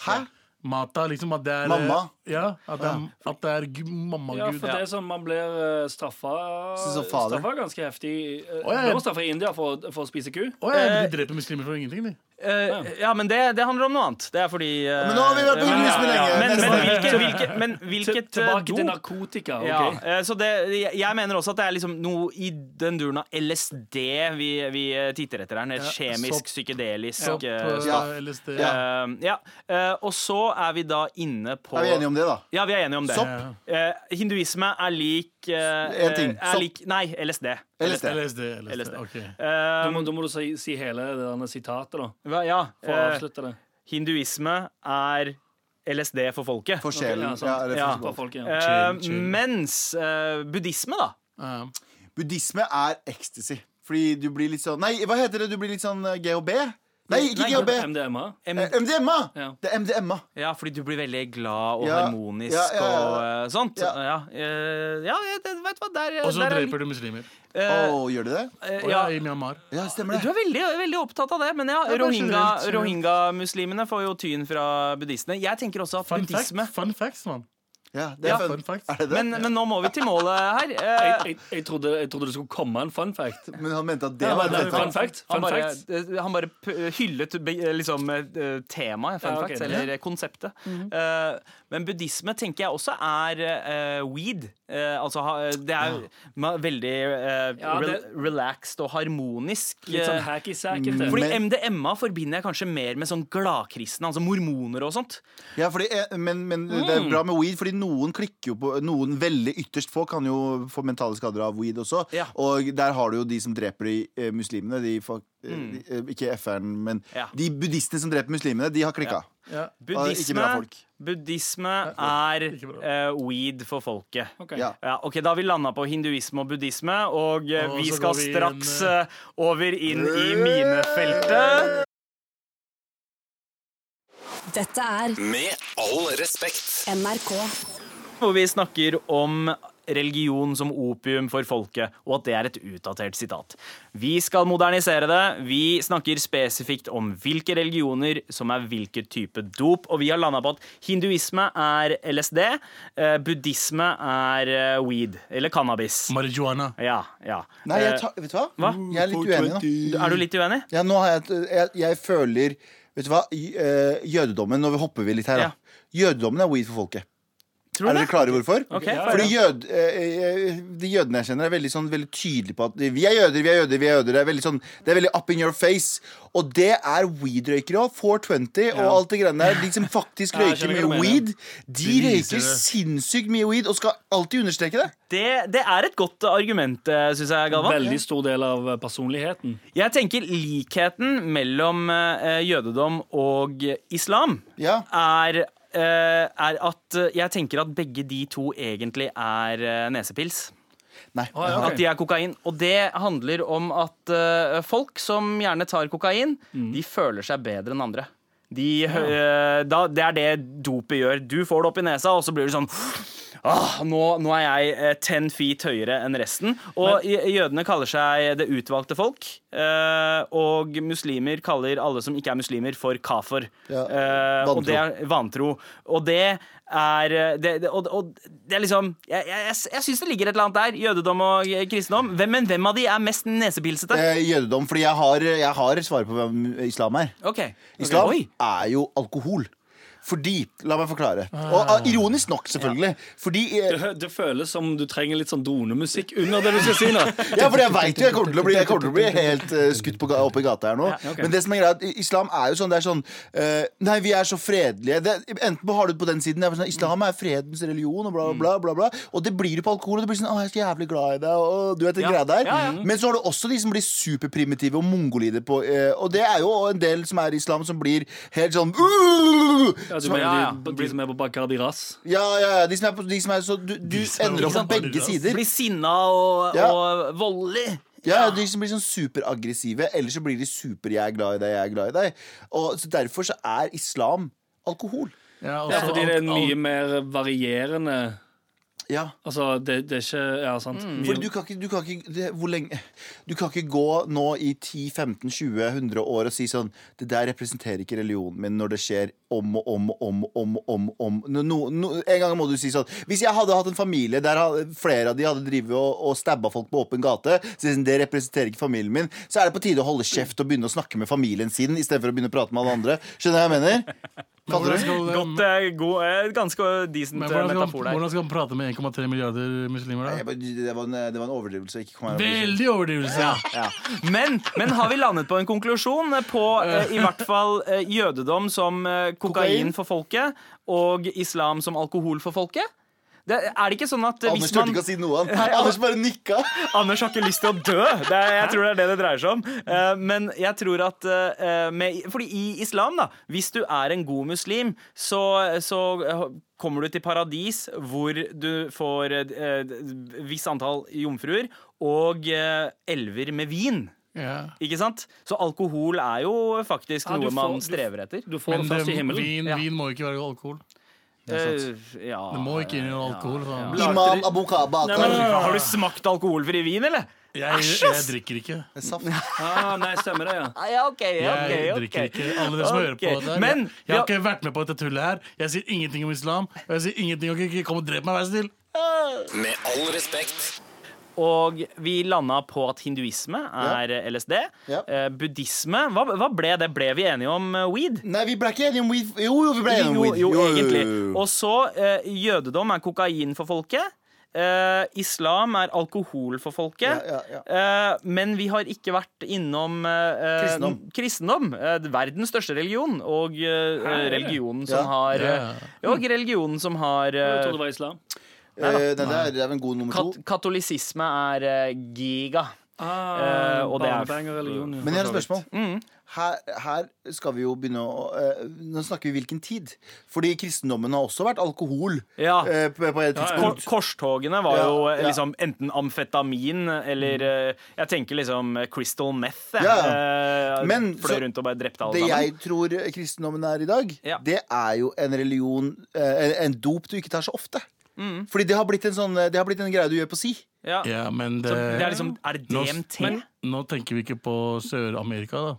Speaker 4: Hæ?
Speaker 6: Mata, liksom at det er
Speaker 4: Mamma?
Speaker 6: Ja, at det er, at det er gu- mammagud.
Speaker 2: Ja, for det er sånn man blir uh, straffa
Speaker 4: Så som fader.
Speaker 2: Straffa ganske heftig. Uh,
Speaker 6: Å, ja.
Speaker 2: Blir man straffa i India for, å- for å spise ku?
Speaker 6: Å ja, men de dreper muslimer for ingenting, de.
Speaker 3: Eh, ja, men det, det handler om noe annet. Det er fordi eh,
Speaker 4: Men nå har vi vært på
Speaker 3: men-
Speaker 4: hinduisme lenge.
Speaker 3: Men, men,
Speaker 4: Neste.
Speaker 3: hvilke, hvilke, men
Speaker 2: Til,
Speaker 3: hvilket eh,
Speaker 2: tilbake
Speaker 3: do?
Speaker 2: til narkotika. ok?
Speaker 3: Ja, eh, så det, jeg, jeg mener også at det er liksom noe i den duren av LSD vi, vi eh, titter etter her. En helt
Speaker 6: Ja,
Speaker 3: kjemisk,
Speaker 6: sopp.
Speaker 3: psykedelisk
Speaker 6: Sopp,
Speaker 3: eh,
Speaker 4: ja.
Speaker 6: eh, LSD.
Speaker 4: Ja.
Speaker 3: eh, ja. Eh, Og så er vi da inne på
Speaker 4: Er vi enige om det, da?
Speaker 3: Ja, vi er enige om det.
Speaker 4: Sopp?
Speaker 6: Ja.
Speaker 3: Eh, hinduisme er lik eh,
Speaker 4: En ting,
Speaker 3: Er
Speaker 4: sopp.
Speaker 3: lik, nei, LSD.
Speaker 4: LSD?
Speaker 6: LSD, LSD.
Speaker 3: LSD.
Speaker 6: ok.
Speaker 3: Eh,
Speaker 2: Da må, da må du si, si hele det derne sitatet, da.
Speaker 3: hva- ja.
Speaker 2: For å
Speaker 3: eh,
Speaker 2: avslutte det.
Speaker 3: hinduisme er LSD for folket.
Speaker 4: For sjelen.
Speaker 2: ja, sant.
Speaker 4: Ja, eller for
Speaker 3: Ja.
Speaker 4: sjelen.
Speaker 2: For folk, ja.
Speaker 3: Eh,
Speaker 6: Chill, chill.
Speaker 3: mens eh, buddhisme, da.
Speaker 6: Ja.
Speaker 4: Buddhisme er ecstasy. Fordi du blir litt sånn Nei, hva heter det? Du blir litt sånn eh, GHB? Nei, ikke
Speaker 3: Nei,
Speaker 4: GHB.
Speaker 2: MDMA.
Speaker 4: Eh, MDMA!
Speaker 2: Ja.
Speaker 4: Det er MDMA.
Speaker 3: Ja, fordi du blir veldig glad og
Speaker 4: Ja,
Speaker 3: harmonisk
Speaker 4: ja, ja, ja.
Speaker 3: og eh, sånt.
Speaker 4: Ja.
Speaker 3: Ja, eh, ja jeg- det, vet du hva, der,
Speaker 6: Og så
Speaker 3: der
Speaker 6: dreper du muslimer.
Speaker 4: Å,
Speaker 3: eh,
Speaker 4: gjør de det?
Speaker 3: eh,
Speaker 6: Å ja,
Speaker 3: ja.
Speaker 6: i Myanmar.
Speaker 4: Ja,
Speaker 3: Du
Speaker 4: stemmer det.
Speaker 3: er veldig, veldig opptatt av det, men ja,
Speaker 6: Ja, bare generelt,
Speaker 3: rohingya-
Speaker 6: generelt.
Speaker 3: rohingya-muslimene får jo tyn fra buddhistene. Jeg tenker også at
Speaker 6: Fun, fact,
Speaker 3: buddhisme
Speaker 6: fun facts, mann.
Speaker 4: Ja, det
Speaker 3: Ja.
Speaker 4: er
Speaker 6: Fun
Speaker 4: fun.
Speaker 6: facts.
Speaker 4: Er det det?
Speaker 3: men, men nå må vi til målet her.
Speaker 2: Jeg,
Speaker 3: Eh,
Speaker 2: jeg, jeg, trodde, jeg trodde det skulle komme en fun fact.
Speaker 4: Men han mente at det
Speaker 2: Ja,
Speaker 4: var
Speaker 2: det er
Speaker 4: en fun
Speaker 2: fun
Speaker 4: fact.
Speaker 2: fact.
Speaker 3: han,
Speaker 2: Fun
Speaker 3: bare,
Speaker 2: fact.
Speaker 3: eh, han bare p- hyllet be- eh, liksom eh, temaet, fun
Speaker 2: Ja, Mhm. ok.
Speaker 3: facts, eller eh, konseptet. Eh, men buddhisme tenker jeg også er eh, weed. Eh, altså ha- det er ma- veldig eh,
Speaker 2: Ja, det-
Speaker 3: rel relaxed og harmonisk.
Speaker 2: Litt sånn
Speaker 3: eh,
Speaker 2: hacky sacket.
Speaker 3: fordi
Speaker 4: Men-
Speaker 3: MDMA forbinder jeg kanskje mer med sånn gladkristne, altså mormoner og sånt.
Speaker 4: Ja, fordi, eh, men, men det
Speaker 3: Mm.
Speaker 4: er bra med weed, fordi noen klikker jo på Noen veldig ytterst få kan jo få mentale skader av weed også.
Speaker 3: Ja.
Speaker 4: Og der har du jo de som dreper de eh, muslimene. De, fuck- eh, de, eh, ikke FN, men
Speaker 3: Mm. Ja.
Speaker 4: de buddhistene som dreper muslimene, de har klikka.
Speaker 6: Ja.
Speaker 4: Ja, ikke
Speaker 3: Buddhisme,
Speaker 4: bra folk.
Speaker 3: buddhisme er
Speaker 6: ikke bra.
Speaker 3: eh, weed for folket.
Speaker 2: Ok.
Speaker 4: Ja.
Speaker 3: Ja, ok, Da har vi landa på hinduisme og buddhisme, og eh,
Speaker 6: Og
Speaker 3: vi
Speaker 6: så
Speaker 3: skal
Speaker 6: går vi
Speaker 3: straks
Speaker 6: inn,
Speaker 3: eh, over inn i minefeltet.
Speaker 5: Dette er
Speaker 1: Med all respekt.
Speaker 5: NRK.
Speaker 3: Hvor vi snakker om religion som opium for folket, og at det er et utdatert sitat. Vi skal modernisere det. Vi snakker spesifikt om hvilke religioner som er hvilken type dop, og vi har landa på at hinduisme er LSD, eh, buddhisme er eh, weed, eller cannabis.
Speaker 6: Marijuana.
Speaker 3: Ja, ja.
Speaker 4: Nei, jeg
Speaker 3: Eh,
Speaker 4: tar, vet du hva?
Speaker 3: hva?
Speaker 4: Jeg er litt uenig, da.
Speaker 3: Er du litt uenig?
Speaker 4: Ja, nå har jeg, et- jeg, jeg føler Vet du hva? J- eh, Jødedommen Nå hopper vi litt her, da. Jødedommen er weed for folket.
Speaker 3: Tror
Speaker 4: er
Speaker 3: du
Speaker 4: dere
Speaker 3: det?
Speaker 4: klare hvorfor?
Speaker 3: Ok,
Speaker 2: Ja,
Speaker 4: Fordi jød, eh, eh, De jødene jeg kjenner, er veldig, sånn, veldig tydelige på at vi er jøder, vi er jøder. vi er jøder Det er veldig, sånn, det er veldig up in your face. Og det er weed-røykere òg. 420 og alt det greiene der. De som faktisk
Speaker 2: Ja,
Speaker 4: røyker
Speaker 2: jeg skjønner hva
Speaker 4: mye
Speaker 2: du mener.
Speaker 4: weed, de
Speaker 6: De viser
Speaker 4: røyker sinnssykt mye weed og skal alltid understreke det.
Speaker 3: Det, det er et godt argument, syns jeg, Galvan.
Speaker 2: Veldig stor del av eh, personligheten.
Speaker 3: Jeg tenker likheten mellom eh, jødedom og islam
Speaker 4: Ja.
Speaker 3: er eh, er at eh, jeg tenker at begge de to egentlig er eh, nesepils.
Speaker 4: Nei.
Speaker 2: Ah, ja, ok.
Speaker 3: At de er kokain. Og det handler om at eh, folk som gjerne tar kokain,
Speaker 2: Mm.
Speaker 3: de føler seg bedre enn andre. De, eh, da, det er det dopet gjør. Du får det opp i nesa, og så blir du sånn Ah, nå, nå er jeg eh, ten feet høyere enn resten. Og j- jødene kaller seg det utvalgte folk. eh, og muslimer kaller alle som ikke er muslimer, for kafer.
Speaker 4: Ja,
Speaker 3: Eh, og
Speaker 4: vantro.
Speaker 3: det er vantro. Og det er eh, det, det, og, og det er liksom Jeg, jeg, jeg, jeg syns det ligger et eller annet der. Jødedom og eh, kristendom. Hvem, men hvem av de er mest nesepilsete?
Speaker 4: Eh, jødedom, fordi jeg har, jeg har svaret på hvem islam er.
Speaker 3: OK.
Speaker 4: Islam
Speaker 3: Oi.
Speaker 4: er jo alkohol. Fordi La meg forklare. Og ah, ironisk nok, selvfølgelig. Fordi eh,
Speaker 2: Det, hø- det føles som du trenger litt sånn donemusikk under det du skal si nå.
Speaker 4: Ja, for jeg veit jo jeg kommer til å bli, jeg kommer til å bli helt eh, skutt på, ga- opp i gata her nå.
Speaker 2: Ja, ok.
Speaker 4: Men det som er greia, er at islam er jo sånn Det er sånn eh, Nei, vi er så fredelige. Det, enten på- har du det på den siden det er sånn, Islam er fredens religion, og bla, bla,
Speaker 3: Mm.
Speaker 4: bla. bla Og det blir du på alkohol, og du blir sånn Å, jeg er så jævlig glad i deg, og du vet den
Speaker 3: Ja.
Speaker 4: greia der.
Speaker 3: Ja, ja.
Speaker 4: Men så har du også de som blir superprimitive og mongolide på eh, Og det er jo en del som er islam, som blir helt sånn
Speaker 2: Ja, du
Speaker 4: som,
Speaker 2: mener
Speaker 3: ja, ja.
Speaker 2: De, de som er på Bacardi Ras?
Speaker 4: ja, ja, ja, de som er på de som er så Du, du
Speaker 6: som er sånn-
Speaker 4: ender opp på
Speaker 6: på
Speaker 4: begge
Speaker 6: Adidas.
Speaker 4: sider.
Speaker 3: Blir sinna og,
Speaker 4: Ja.
Speaker 3: og voldelig.
Speaker 4: Ja, de som blir sånn superaggressive, eller så blir de super 'jeg er glad i deg, jeg er glad i deg'. Og så Derfor så er islam alkohol.
Speaker 6: Ja, og
Speaker 2: Ja,
Speaker 6: så alt-
Speaker 2: fordi det er mye
Speaker 6: alt-
Speaker 2: mer varierende
Speaker 4: Ja
Speaker 2: Altså, det, det er ikke Ja, sant.
Speaker 4: for
Speaker 2: Mye,
Speaker 4: du kan ikke, du kan ikke det, Hvor lenge Du kan ikke gå nå i 10, 15, 20, 100 år og si sånn Det der representerer ikke religionen min når det skjer om og om og om og om, og om, og om. No, no, no, En gang må du si sånn Hvis jeg hadde hatt en familie der ha- flere av de hadde drivet og, og stabba folk på åpen gate, så er det sånn, det representerer ikke familien min, så er det på tide å holde kjeft og begynne å snakke med familien sin istedenfor å begynne å prate med alle andre. Skjønner du hva jeg mener?
Speaker 6: Men hvordan skal-
Speaker 3: Godt, eh, god, eh, ganske decent
Speaker 6: Um, men
Speaker 3: eh,
Speaker 6: hvordan skal,
Speaker 3: metafor der.
Speaker 6: hvordan skal man prate med 1,3 milliarder muslimer
Speaker 4: Jeg
Speaker 6: da?
Speaker 4: bare- Det var en, det var en overdrivelse. Ikke kom her og bli-
Speaker 6: Veldig overdrivelse! Ja.
Speaker 3: Men, men har vi landet på en konklusjon på eh, i hvert fall eh, jødedom som eh, kokain
Speaker 4: Kokain.
Speaker 3: for folket og islam som alkohol for folket? Det, er det ikke sånn at eh,
Speaker 4: Anders
Speaker 3: hvis
Speaker 4: turte
Speaker 3: man
Speaker 4: ikke å si noe, han. Anders bare nikka.
Speaker 3: Anders har ikke lyst til å dø! Det er, jeg tror det er det det dreier seg om. Eh, men jeg tror at eh, med, Fordi i islam, da, hvis du er en god muslim, så, så eh, kommer du til paradis hvor du får eh, et visst antall jomfruer og eh, elver med vin. Ikke sant? Så alkohol er jo faktisk
Speaker 2: Ja, du
Speaker 3: noe man
Speaker 2: får- du-
Speaker 3: strever etter.
Speaker 2: du får
Speaker 6: Men
Speaker 2: det først i
Speaker 6: det,
Speaker 2: himmelen.
Speaker 6: vin,
Speaker 3: Ja.
Speaker 6: vin må ikke være alkohol.
Speaker 3: Eh, ja.
Speaker 6: Det må ikke inn i noe alkohol. faen.
Speaker 3: Ja.
Speaker 4: Imam Abu
Speaker 3: Nei, men,
Speaker 4: Bakar.
Speaker 3: Har du smakt alkoholfri vin, eller?
Speaker 6: Jeg, jeg drikker ikke.
Speaker 4: Saft.
Speaker 2: Ah, nei, stemmer det, ja.
Speaker 3: Ah, Ja, ok, ja,
Speaker 6: Jeg
Speaker 3: ok, ok.
Speaker 6: drikker ikke. Alle dere som hører på
Speaker 3: Ok,
Speaker 6: dette her,
Speaker 3: Men
Speaker 6: jeg, jeg har ikke vært med på dette tullet her. Jeg sier ingenting om islam. Og jeg sier ingenting om ikke kom og drep meg, vær så snill.
Speaker 1: Med all respekt.
Speaker 3: Og vi landa på at hinduisme er LSD.
Speaker 4: Ja.
Speaker 3: Eh, buddhisme hva, hva ble det? Ble vi enige om eh, weed?
Speaker 4: Nei, vi ble ikke enige om weed. Jo, jo, vi ble enige om
Speaker 3: Jo,
Speaker 4: weed.
Speaker 3: jo, egentlig.
Speaker 4: jo.
Speaker 3: Og så eh, jødedom er kokain for folket. Eh, islam er alkohol for folket.
Speaker 4: Ja, ja,
Speaker 3: Eh, men vi har ikke vært innom eh,
Speaker 4: Kristendom.
Speaker 3: kristendom, eh, verdens største religion, og eh, religionen som
Speaker 4: Ja.
Speaker 3: har
Speaker 6: Ja.
Speaker 3: eh, Og religionen som har
Speaker 2: Jeg
Speaker 3: eh,
Speaker 2: trodde det var islam.
Speaker 4: Eh, nei, det er, det er en god nummer to.
Speaker 3: kat Katolisisme er eh, giga.
Speaker 2: Ah,
Speaker 3: Eh, og det er-
Speaker 2: barnepenger, religion, ja.
Speaker 4: Men jeg har et spørsmål.
Speaker 3: Mm.
Speaker 4: Her, her skal vi jo begynne å eh, Nå snakker vi hvilken tid. Fordi kristendommen har også vært alkohol
Speaker 3: Ja.
Speaker 4: eh, på, på et
Speaker 3: Kor
Speaker 4: tidspunkt.
Speaker 3: korstogene var
Speaker 4: Ja,
Speaker 3: jo eh,
Speaker 4: ja. Mm.
Speaker 3: liksom enten amfetamin eller eh, Jeg tenker liksom eh, crystal meth. jeg.
Speaker 4: Ja,
Speaker 3: Eh,
Speaker 4: Men
Speaker 3: Fløy
Speaker 4: så-
Speaker 3: rundt og bare drepte alle
Speaker 4: Det
Speaker 3: sammen.
Speaker 4: jeg tror kristendommen er i dag,
Speaker 3: Ja.
Speaker 4: det er jo en religion eh, en- En dop du ikke tar så ofte.
Speaker 3: Mm.
Speaker 4: Fordi det har blitt en sånn Det har blitt en greie du gjør på si.
Speaker 3: Ja.
Speaker 6: Ja, men det,
Speaker 3: Så det er liksom Er det
Speaker 6: nå,
Speaker 3: DMT?
Speaker 6: men, nå tenker vi ikke på Sør-Amerika, da.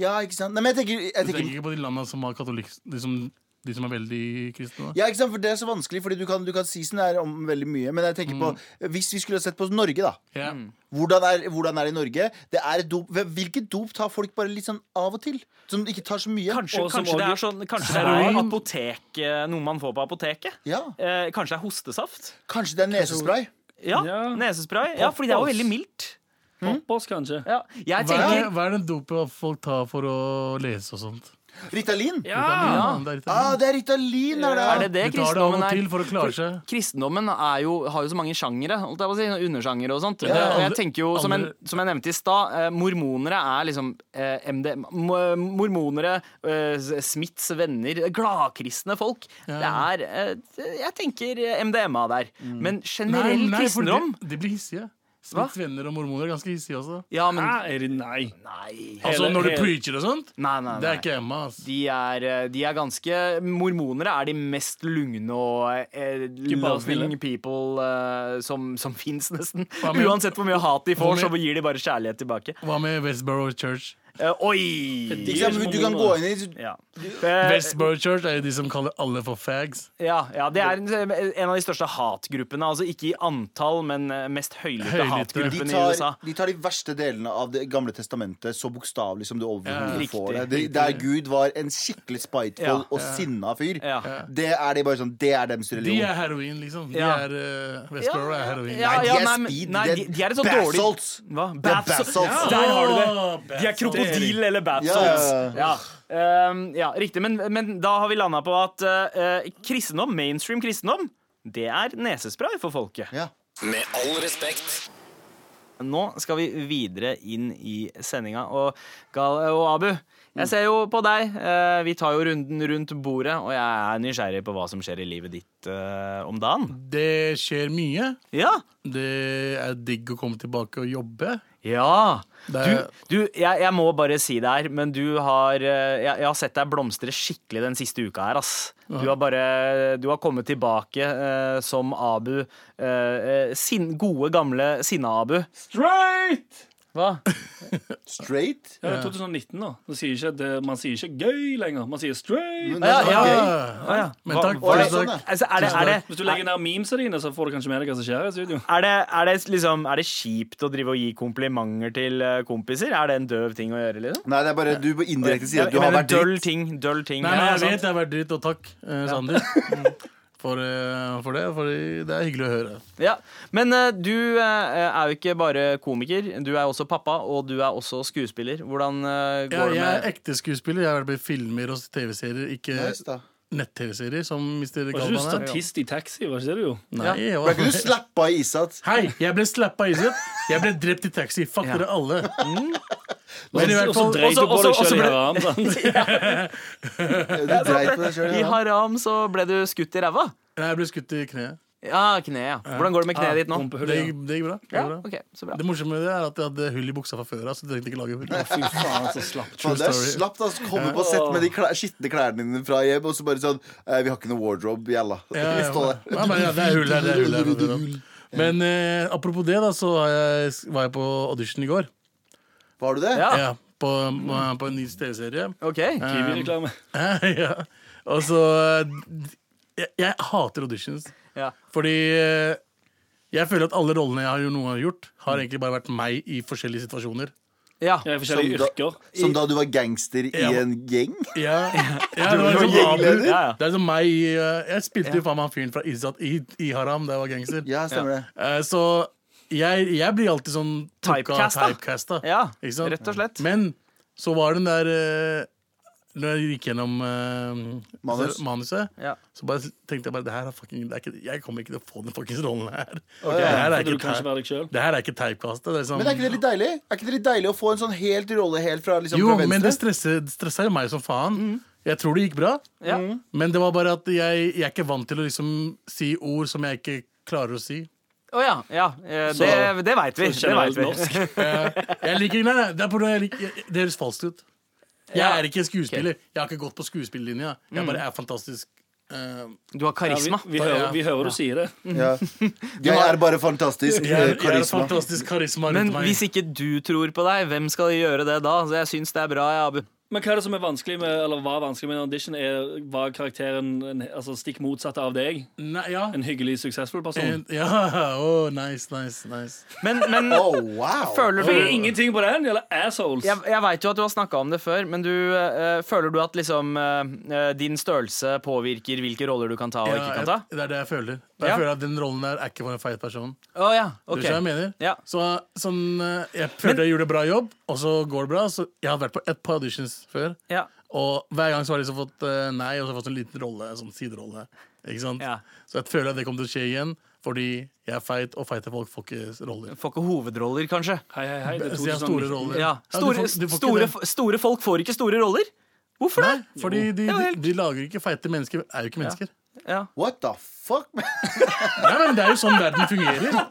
Speaker 4: Ja, ikke sant? Nei, men jeg tenker, jeg
Speaker 6: Vi
Speaker 4: tenker
Speaker 6: tenker ikke på de landene som har katolikk De som, de som er veldig kristne. da.
Speaker 4: Ja, ikke sant, for Det er så vanskelig, Fordi du kan, du kan si sånn her om veldig mye. Men jeg tenker på
Speaker 3: Mm.
Speaker 4: hvis vi skulle sett på Norge, da.
Speaker 6: Ja.
Speaker 4: Hvordan er, hvordan er det i Norge? Det er et dop, hvilke dop tar folk bare litt sånn av og til? Som ikke tar så mye?
Speaker 3: Kanskje,
Speaker 2: Og som
Speaker 3: kanskje det er
Speaker 2: også-
Speaker 3: sånn Kanskje det er
Speaker 6: Heroin.
Speaker 3: apotek, eh, noe man får på apoteket?
Speaker 4: Ja,
Speaker 3: Eh, kanskje det er hostesaft?
Speaker 4: Kanskje det er nesespray?
Speaker 3: Ja,
Speaker 2: Ja.
Speaker 3: Nesespray? Ja, fordi det er jo veldig mildt.
Speaker 2: Poppers, kanskje.
Speaker 3: Ja. Jeg
Speaker 6: Hva er,
Speaker 3: tenker
Speaker 6: hva er den dopet folk tar for å lese og sånt?
Speaker 4: Ritalin?
Speaker 2: Ja!
Speaker 6: det er litt-
Speaker 4: Ah, det er Ritalin, er det?
Speaker 3: Er det det
Speaker 6: Du tar det av
Speaker 3: kristendommen
Speaker 6: og
Speaker 3: er?
Speaker 6: til for å klare seg.
Speaker 3: Kristendommen er jo, har jo så mange sjangere, holdt jeg på å si, undersjangere og sånt.
Speaker 6: ja.
Speaker 3: og jeg tenker jo, som, en,
Speaker 6: Alle-
Speaker 3: som jeg nevnte i stad, eh, mormonere er liksom eh, MD, mo- Mormonere, eh, Smiths venner, gladkristne folk. Det er eh, Jeg tenker MDMA der. Men
Speaker 6: Mm. Nei,
Speaker 3: generell
Speaker 6: nei, for
Speaker 3: kristendom
Speaker 6: de, de blir hissige. Smiths venner og mormoner er ganske hissige også.
Speaker 3: Ja, men
Speaker 2: Hæ? Ah, Er det nei?
Speaker 3: Nei.
Speaker 6: Altså
Speaker 2: Hele-
Speaker 6: når du
Speaker 2: hele-
Speaker 6: preacher og sånt.
Speaker 3: Nei, nei,
Speaker 6: Det
Speaker 3: nei.
Speaker 6: er ikke Emma, ass.
Speaker 3: De er, eh, de er ganske Mormonere er de mest lugne og eh,
Speaker 2: bare
Speaker 3: loving
Speaker 2: snille.
Speaker 3: people eh, som, som fins, nesten.
Speaker 6: Hva med-
Speaker 3: Uansett hvor mye hat de får,
Speaker 6: Hva
Speaker 3: så
Speaker 6: med-
Speaker 3: gir de bare kjærlighet tilbake.
Speaker 6: Hva med Westboro Church?
Speaker 3: Eh,
Speaker 2: De-
Speaker 3: oi!
Speaker 4: Ikke sant, men Du kan gå inn i
Speaker 3: Ja. Eh,
Speaker 6: Westboro Church er jo de som kaller alle for fags.
Speaker 3: ja, ja, det er en, en av de største hatgruppene. Altså ikke i antall, men eh, mest høylytte,
Speaker 6: Høylytte.
Speaker 4: de
Speaker 3: hatgruppen i USA.
Speaker 4: tar, de tar de verste delene av Det gamle testamentet så bokstavelig som du overhodet
Speaker 3: Ja.
Speaker 4: får det.
Speaker 3: Riktig.
Speaker 4: De- Der Gud var en skikkelig spiteful
Speaker 3: Ja.
Speaker 4: og sinna fyr.
Speaker 3: Ja.
Speaker 4: Det er de bare sånn Det er deres
Speaker 6: De
Speaker 4: religion.
Speaker 6: er heroin, liksom. De
Speaker 3: Ja.
Speaker 6: er eh, Westboro er heroin.
Speaker 3: Ja,
Speaker 4: Nei, de
Speaker 3: ja,
Speaker 4: er
Speaker 3: nei, men-
Speaker 4: speed.
Speaker 3: nei,
Speaker 4: Det er
Speaker 3: de, de er et sånt dårlig
Speaker 4: Basalts.
Speaker 3: Hva?
Speaker 4: Det er basalts.
Speaker 3: Der har du det!
Speaker 6: Åh,
Speaker 3: De er krokodil eller bathsalts.
Speaker 4: Ja,
Speaker 3: Ja, ehm, ja, riktig. Men, men da har vi landa på at eh, kristendom, mainstream kristendom, det er nesespray for folket.
Speaker 4: Ja.
Speaker 1: Med all respekt.
Speaker 3: Nå skal vi videre inn i sendinga. Og, Gal og Abu, jeg ser jo på deg. eh, vi tar jo runden rundt bordet, og jeg er nysgjerrig på hva som skjer i livet ditt eh, om dagen.
Speaker 6: Det skjer mye.
Speaker 3: Ja.
Speaker 6: Det er digg å komme tilbake og jobbe.
Speaker 3: Ja.
Speaker 6: Det
Speaker 3: Du,
Speaker 6: er-
Speaker 3: du jeg, jeg må bare si det her, men du har eh, Jeg, jeg har sett deg blomstre skikkelig den siste uka her, ass. Du har bare Du har kommet tilbake eh, som Abu. eh, eh, sin, gode, gamle sinna-Abu.
Speaker 2: Straight!
Speaker 3: Hva?
Speaker 4: Straight?
Speaker 2: Ja, det er 2019, da. Man sier, ikke, det, man sier ikke gøy lenger. Man sier straight.
Speaker 4: Men det er
Speaker 3: Ja, ja.
Speaker 4: gøy.
Speaker 3: Å, ja.
Speaker 6: Men
Speaker 3: Hva-
Speaker 6: takk.
Speaker 3: var det-
Speaker 4: tusen takk.
Speaker 3: Altså, er, det, er, det,
Speaker 2: Hvis du legger ned memesa dine, så får du kanskje med deg hva som skjer i studio.
Speaker 3: er, det, er, det liksom, er det kjipt å drive og gi komplimenter til eh, kompiser? Er det en døv ting å gjøre, liksom?
Speaker 4: Nei, det er bare du på indirekte sier at du
Speaker 3: Jeg
Speaker 4: har
Speaker 3: mener,
Speaker 4: vært dritt.
Speaker 3: Døll ting. Døll ting.
Speaker 6: Nei, nei,
Speaker 3: Ja,
Speaker 6: jeg
Speaker 3: sant.
Speaker 6: vet det har vært dritt, og takk, eh, Sander, for, eh, for det. For det er hyggelig å høre.
Speaker 3: Ja, Men eh, du eh, er jo ikke bare komiker. Du er også pappa, og du er også skuespiller. Hvordan eh,
Speaker 6: Ja,
Speaker 3: går
Speaker 6: jeg er
Speaker 3: det med
Speaker 6: ekte skuespiller. Jeg har vært med i filmer og TV-serier, ikke
Speaker 4: Nice, da.
Speaker 6: nett-TV-serier, som Mr.
Speaker 2: Var ikke du
Speaker 6: Galvan er.
Speaker 2: statist i taxi? Var ikke det du gjorde?
Speaker 6: Nei, jeg
Speaker 4: Ble ikke
Speaker 6: var...
Speaker 4: du slappa i Isat?
Speaker 6: Hei, jeg ble slappa i iset. Jeg ble drept i taxi. Fuck dere alle. Men i hvert
Speaker 2: Og så
Speaker 6: fall
Speaker 2: dreit du på
Speaker 3: også-
Speaker 2: deg
Speaker 3: også-
Speaker 2: sjøl
Speaker 3: også
Speaker 2: i
Speaker 3: ble-
Speaker 2: haram. sant?
Speaker 4: Du dreit på deg sjøl.
Speaker 3: I haram så ble du skutt i ræva.
Speaker 6: Nei, jeg ble skutt i kneet.
Speaker 3: Ja, kneet. ja. Hvordan går det med kneet ditt nå?
Speaker 2: Rumpehull,
Speaker 6: Det,
Speaker 2: ja.
Speaker 6: gikk- det gikk bra. Det,
Speaker 3: Ja,
Speaker 6: gikk bra.
Speaker 3: ok, så bra
Speaker 6: det morsomme med det er at jeg hadde hull i buksa fra før av, så jeg trengte ikke lage hull.
Speaker 2: Fy faen, så slapp.
Speaker 4: Faen, det er
Speaker 6: story.
Speaker 4: slapt. Altså, komme på sett med de klær, skitne klærne dine fra hjem, og så bare sånn eh, Vi har ikke noe wardrobe, jalla.
Speaker 6: Ja,
Speaker 4: Vi
Speaker 6: ja,
Speaker 4: står der.
Speaker 6: ja, men, ja, det er hull her, det er hull her. det er hull. Men eh, apropos det, da, så har jeg, var jeg på audition i går.
Speaker 4: Var du det?
Speaker 3: Ja.
Speaker 6: Ja, på, på en ny TV-serie.
Speaker 3: Ok,
Speaker 2: Kiwi-reklame.
Speaker 6: ja. Og så eh, jeg, jeg hater auditions.
Speaker 3: ja.
Speaker 6: Fordi eh, jeg føler at alle rollene jeg har gjort- noen gang har gjort,
Speaker 3: Mm.
Speaker 6: har egentlig bare vært meg i forskjellige situasjoner.
Speaker 3: ja.
Speaker 2: Jeg er i forskjellige
Speaker 4: Som da-
Speaker 2: yrker.
Speaker 4: Som da du var gangster i
Speaker 6: Ja.
Speaker 4: en gjeng?
Speaker 6: Ja, ja det, var
Speaker 3: var
Speaker 6: liksom,
Speaker 3: gjengleder.
Speaker 6: Abu-
Speaker 3: Ja, ja.
Speaker 6: det er som meg i eh, Jeg spilte jo faen meg han fyren fra Izzat i, i Haram da jeg var gangster.
Speaker 4: Ja, stemmer det.
Speaker 6: Eh, så jeg, jeg blir alltid sånn
Speaker 3: Typecast, da.
Speaker 6: typecasta.
Speaker 3: ja.
Speaker 6: Ikke sant?
Speaker 3: Rett og slett.
Speaker 6: Men så var den der eh, Når jeg gikk gjennom eh,
Speaker 4: Manus.
Speaker 6: manuset,
Speaker 3: Ja.
Speaker 6: så bare tenkte jeg bare det her er fucking, det er ikke, Jeg kommer ikke til å få den fuckings rollen her.
Speaker 4: Ok.
Speaker 6: Det, her er
Speaker 2: Fordi
Speaker 6: ikke,
Speaker 2: du kan ikke
Speaker 6: ty-
Speaker 2: være deg selv.
Speaker 6: det her er ikke typecasta. Det er sånn-
Speaker 4: Men er ikke det litt deilig? Er ikke det litt deilig å få en sånn helt rolle helt fra, liksom,
Speaker 6: jo,
Speaker 4: fra
Speaker 6: men det
Speaker 4: venstre?
Speaker 6: stresser, stresser jo meg som faen. Jeg tror det gikk bra, Mm.
Speaker 3: Ja.
Speaker 6: men det var bare at jeg, jeg er ikke vant til å liksom si ord som jeg ikke klarer å si.
Speaker 3: Å ja. ja. eh, Det, det veit vi. Det
Speaker 2: Generelt
Speaker 3: vet vi.
Speaker 2: norsk.
Speaker 6: Jeg liker, nei, nei, det er på grunn av jeg liker, jeg- det høres falskt ut. Jeg
Speaker 3: Ja,
Speaker 6: er ikke en skuespiller. Jeg har ikke gått på skuespillerlinja. Jeg bare er fantastisk. eh,
Speaker 3: Du har
Speaker 2: Ja,
Speaker 3: karisma.
Speaker 2: vi, vi, hører, vi hører du sier det.
Speaker 4: Ja. Jeg er bare fantastisk.
Speaker 6: jeg, er-
Speaker 4: eh,
Speaker 6: jeg har
Speaker 4: Karisma.
Speaker 6: fantastisk karisma rundt
Speaker 3: Men
Speaker 6: meg.
Speaker 3: hvis ikke du tror på deg, hvem skal gjøre det da? Så jeg syns det er bra, ja, Abu.
Speaker 2: Men hva er det som er vanskelig med, eller var vanskelig med en audition? Er, var karakteren en, altså, stikk motsatt av deg?
Speaker 6: Nei, ja.
Speaker 2: En hyggelig, suksessfull person?
Speaker 6: En- ja. Å, nice, nice, nice.
Speaker 3: Men, men
Speaker 4: Oh, wow.
Speaker 3: føler
Speaker 2: Fordi
Speaker 3: du
Speaker 2: ingenting på den gjelder assholes.
Speaker 3: Jeg, jeg veit jo at du har snakka om det før, men du, eh, føler du at liksom eh, eh, din størrelse påvirker hvilke roller du kan ta og
Speaker 6: Ja,
Speaker 3: ikke kan ta?
Speaker 6: jeg, det er det jeg føler. Og jeg
Speaker 3: Ja.
Speaker 6: føler at den rollen der er ikke for en feit person.
Speaker 3: Å ja, ok.
Speaker 6: Skjønner du hva jeg mener?
Speaker 3: Ja.
Speaker 6: Så sånn, eh, jeg følte jeg gjorde en bra jobb, og så går det bra. Så jeg har vært på et par auditions før,
Speaker 3: Ja.
Speaker 6: og hver gang så har jeg liksom fått eh, nei, og så har jeg fått en liten rolle, en sånn siderolle. Ikke sant?
Speaker 3: Ja.
Speaker 6: Så jeg føler at det kommer til å skje igjen, fordi jeg er feit, og feite folk får ikke roller.
Speaker 3: Får ikke hovedroller, kanskje.
Speaker 2: Hei, hei, hei. Det er
Speaker 6: Så jeg har store
Speaker 2: 2019.
Speaker 6: roller.
Speaker 3: Ja.
Speaker 6: Ja, du
Speaker 3: Store,
Speaker 6: får- du får ikke
Speaker 3: store,
Speaker 6: den-
Speaker 3: store folk får ikke store roller. Hvorfor det?
Speaker 6: Nei, fordi de,
Speaker 3: Jo,
Speaker 6: de,
Speaker 3: helt-
Speaker 6: de lager ikke feite mennesker. Er jo ikke mennesker.
Speaker 3: Ja.
Speaker 4: What the fuck? man?
Speaker 6: Nei, men Det er jo sånn verden fungerer.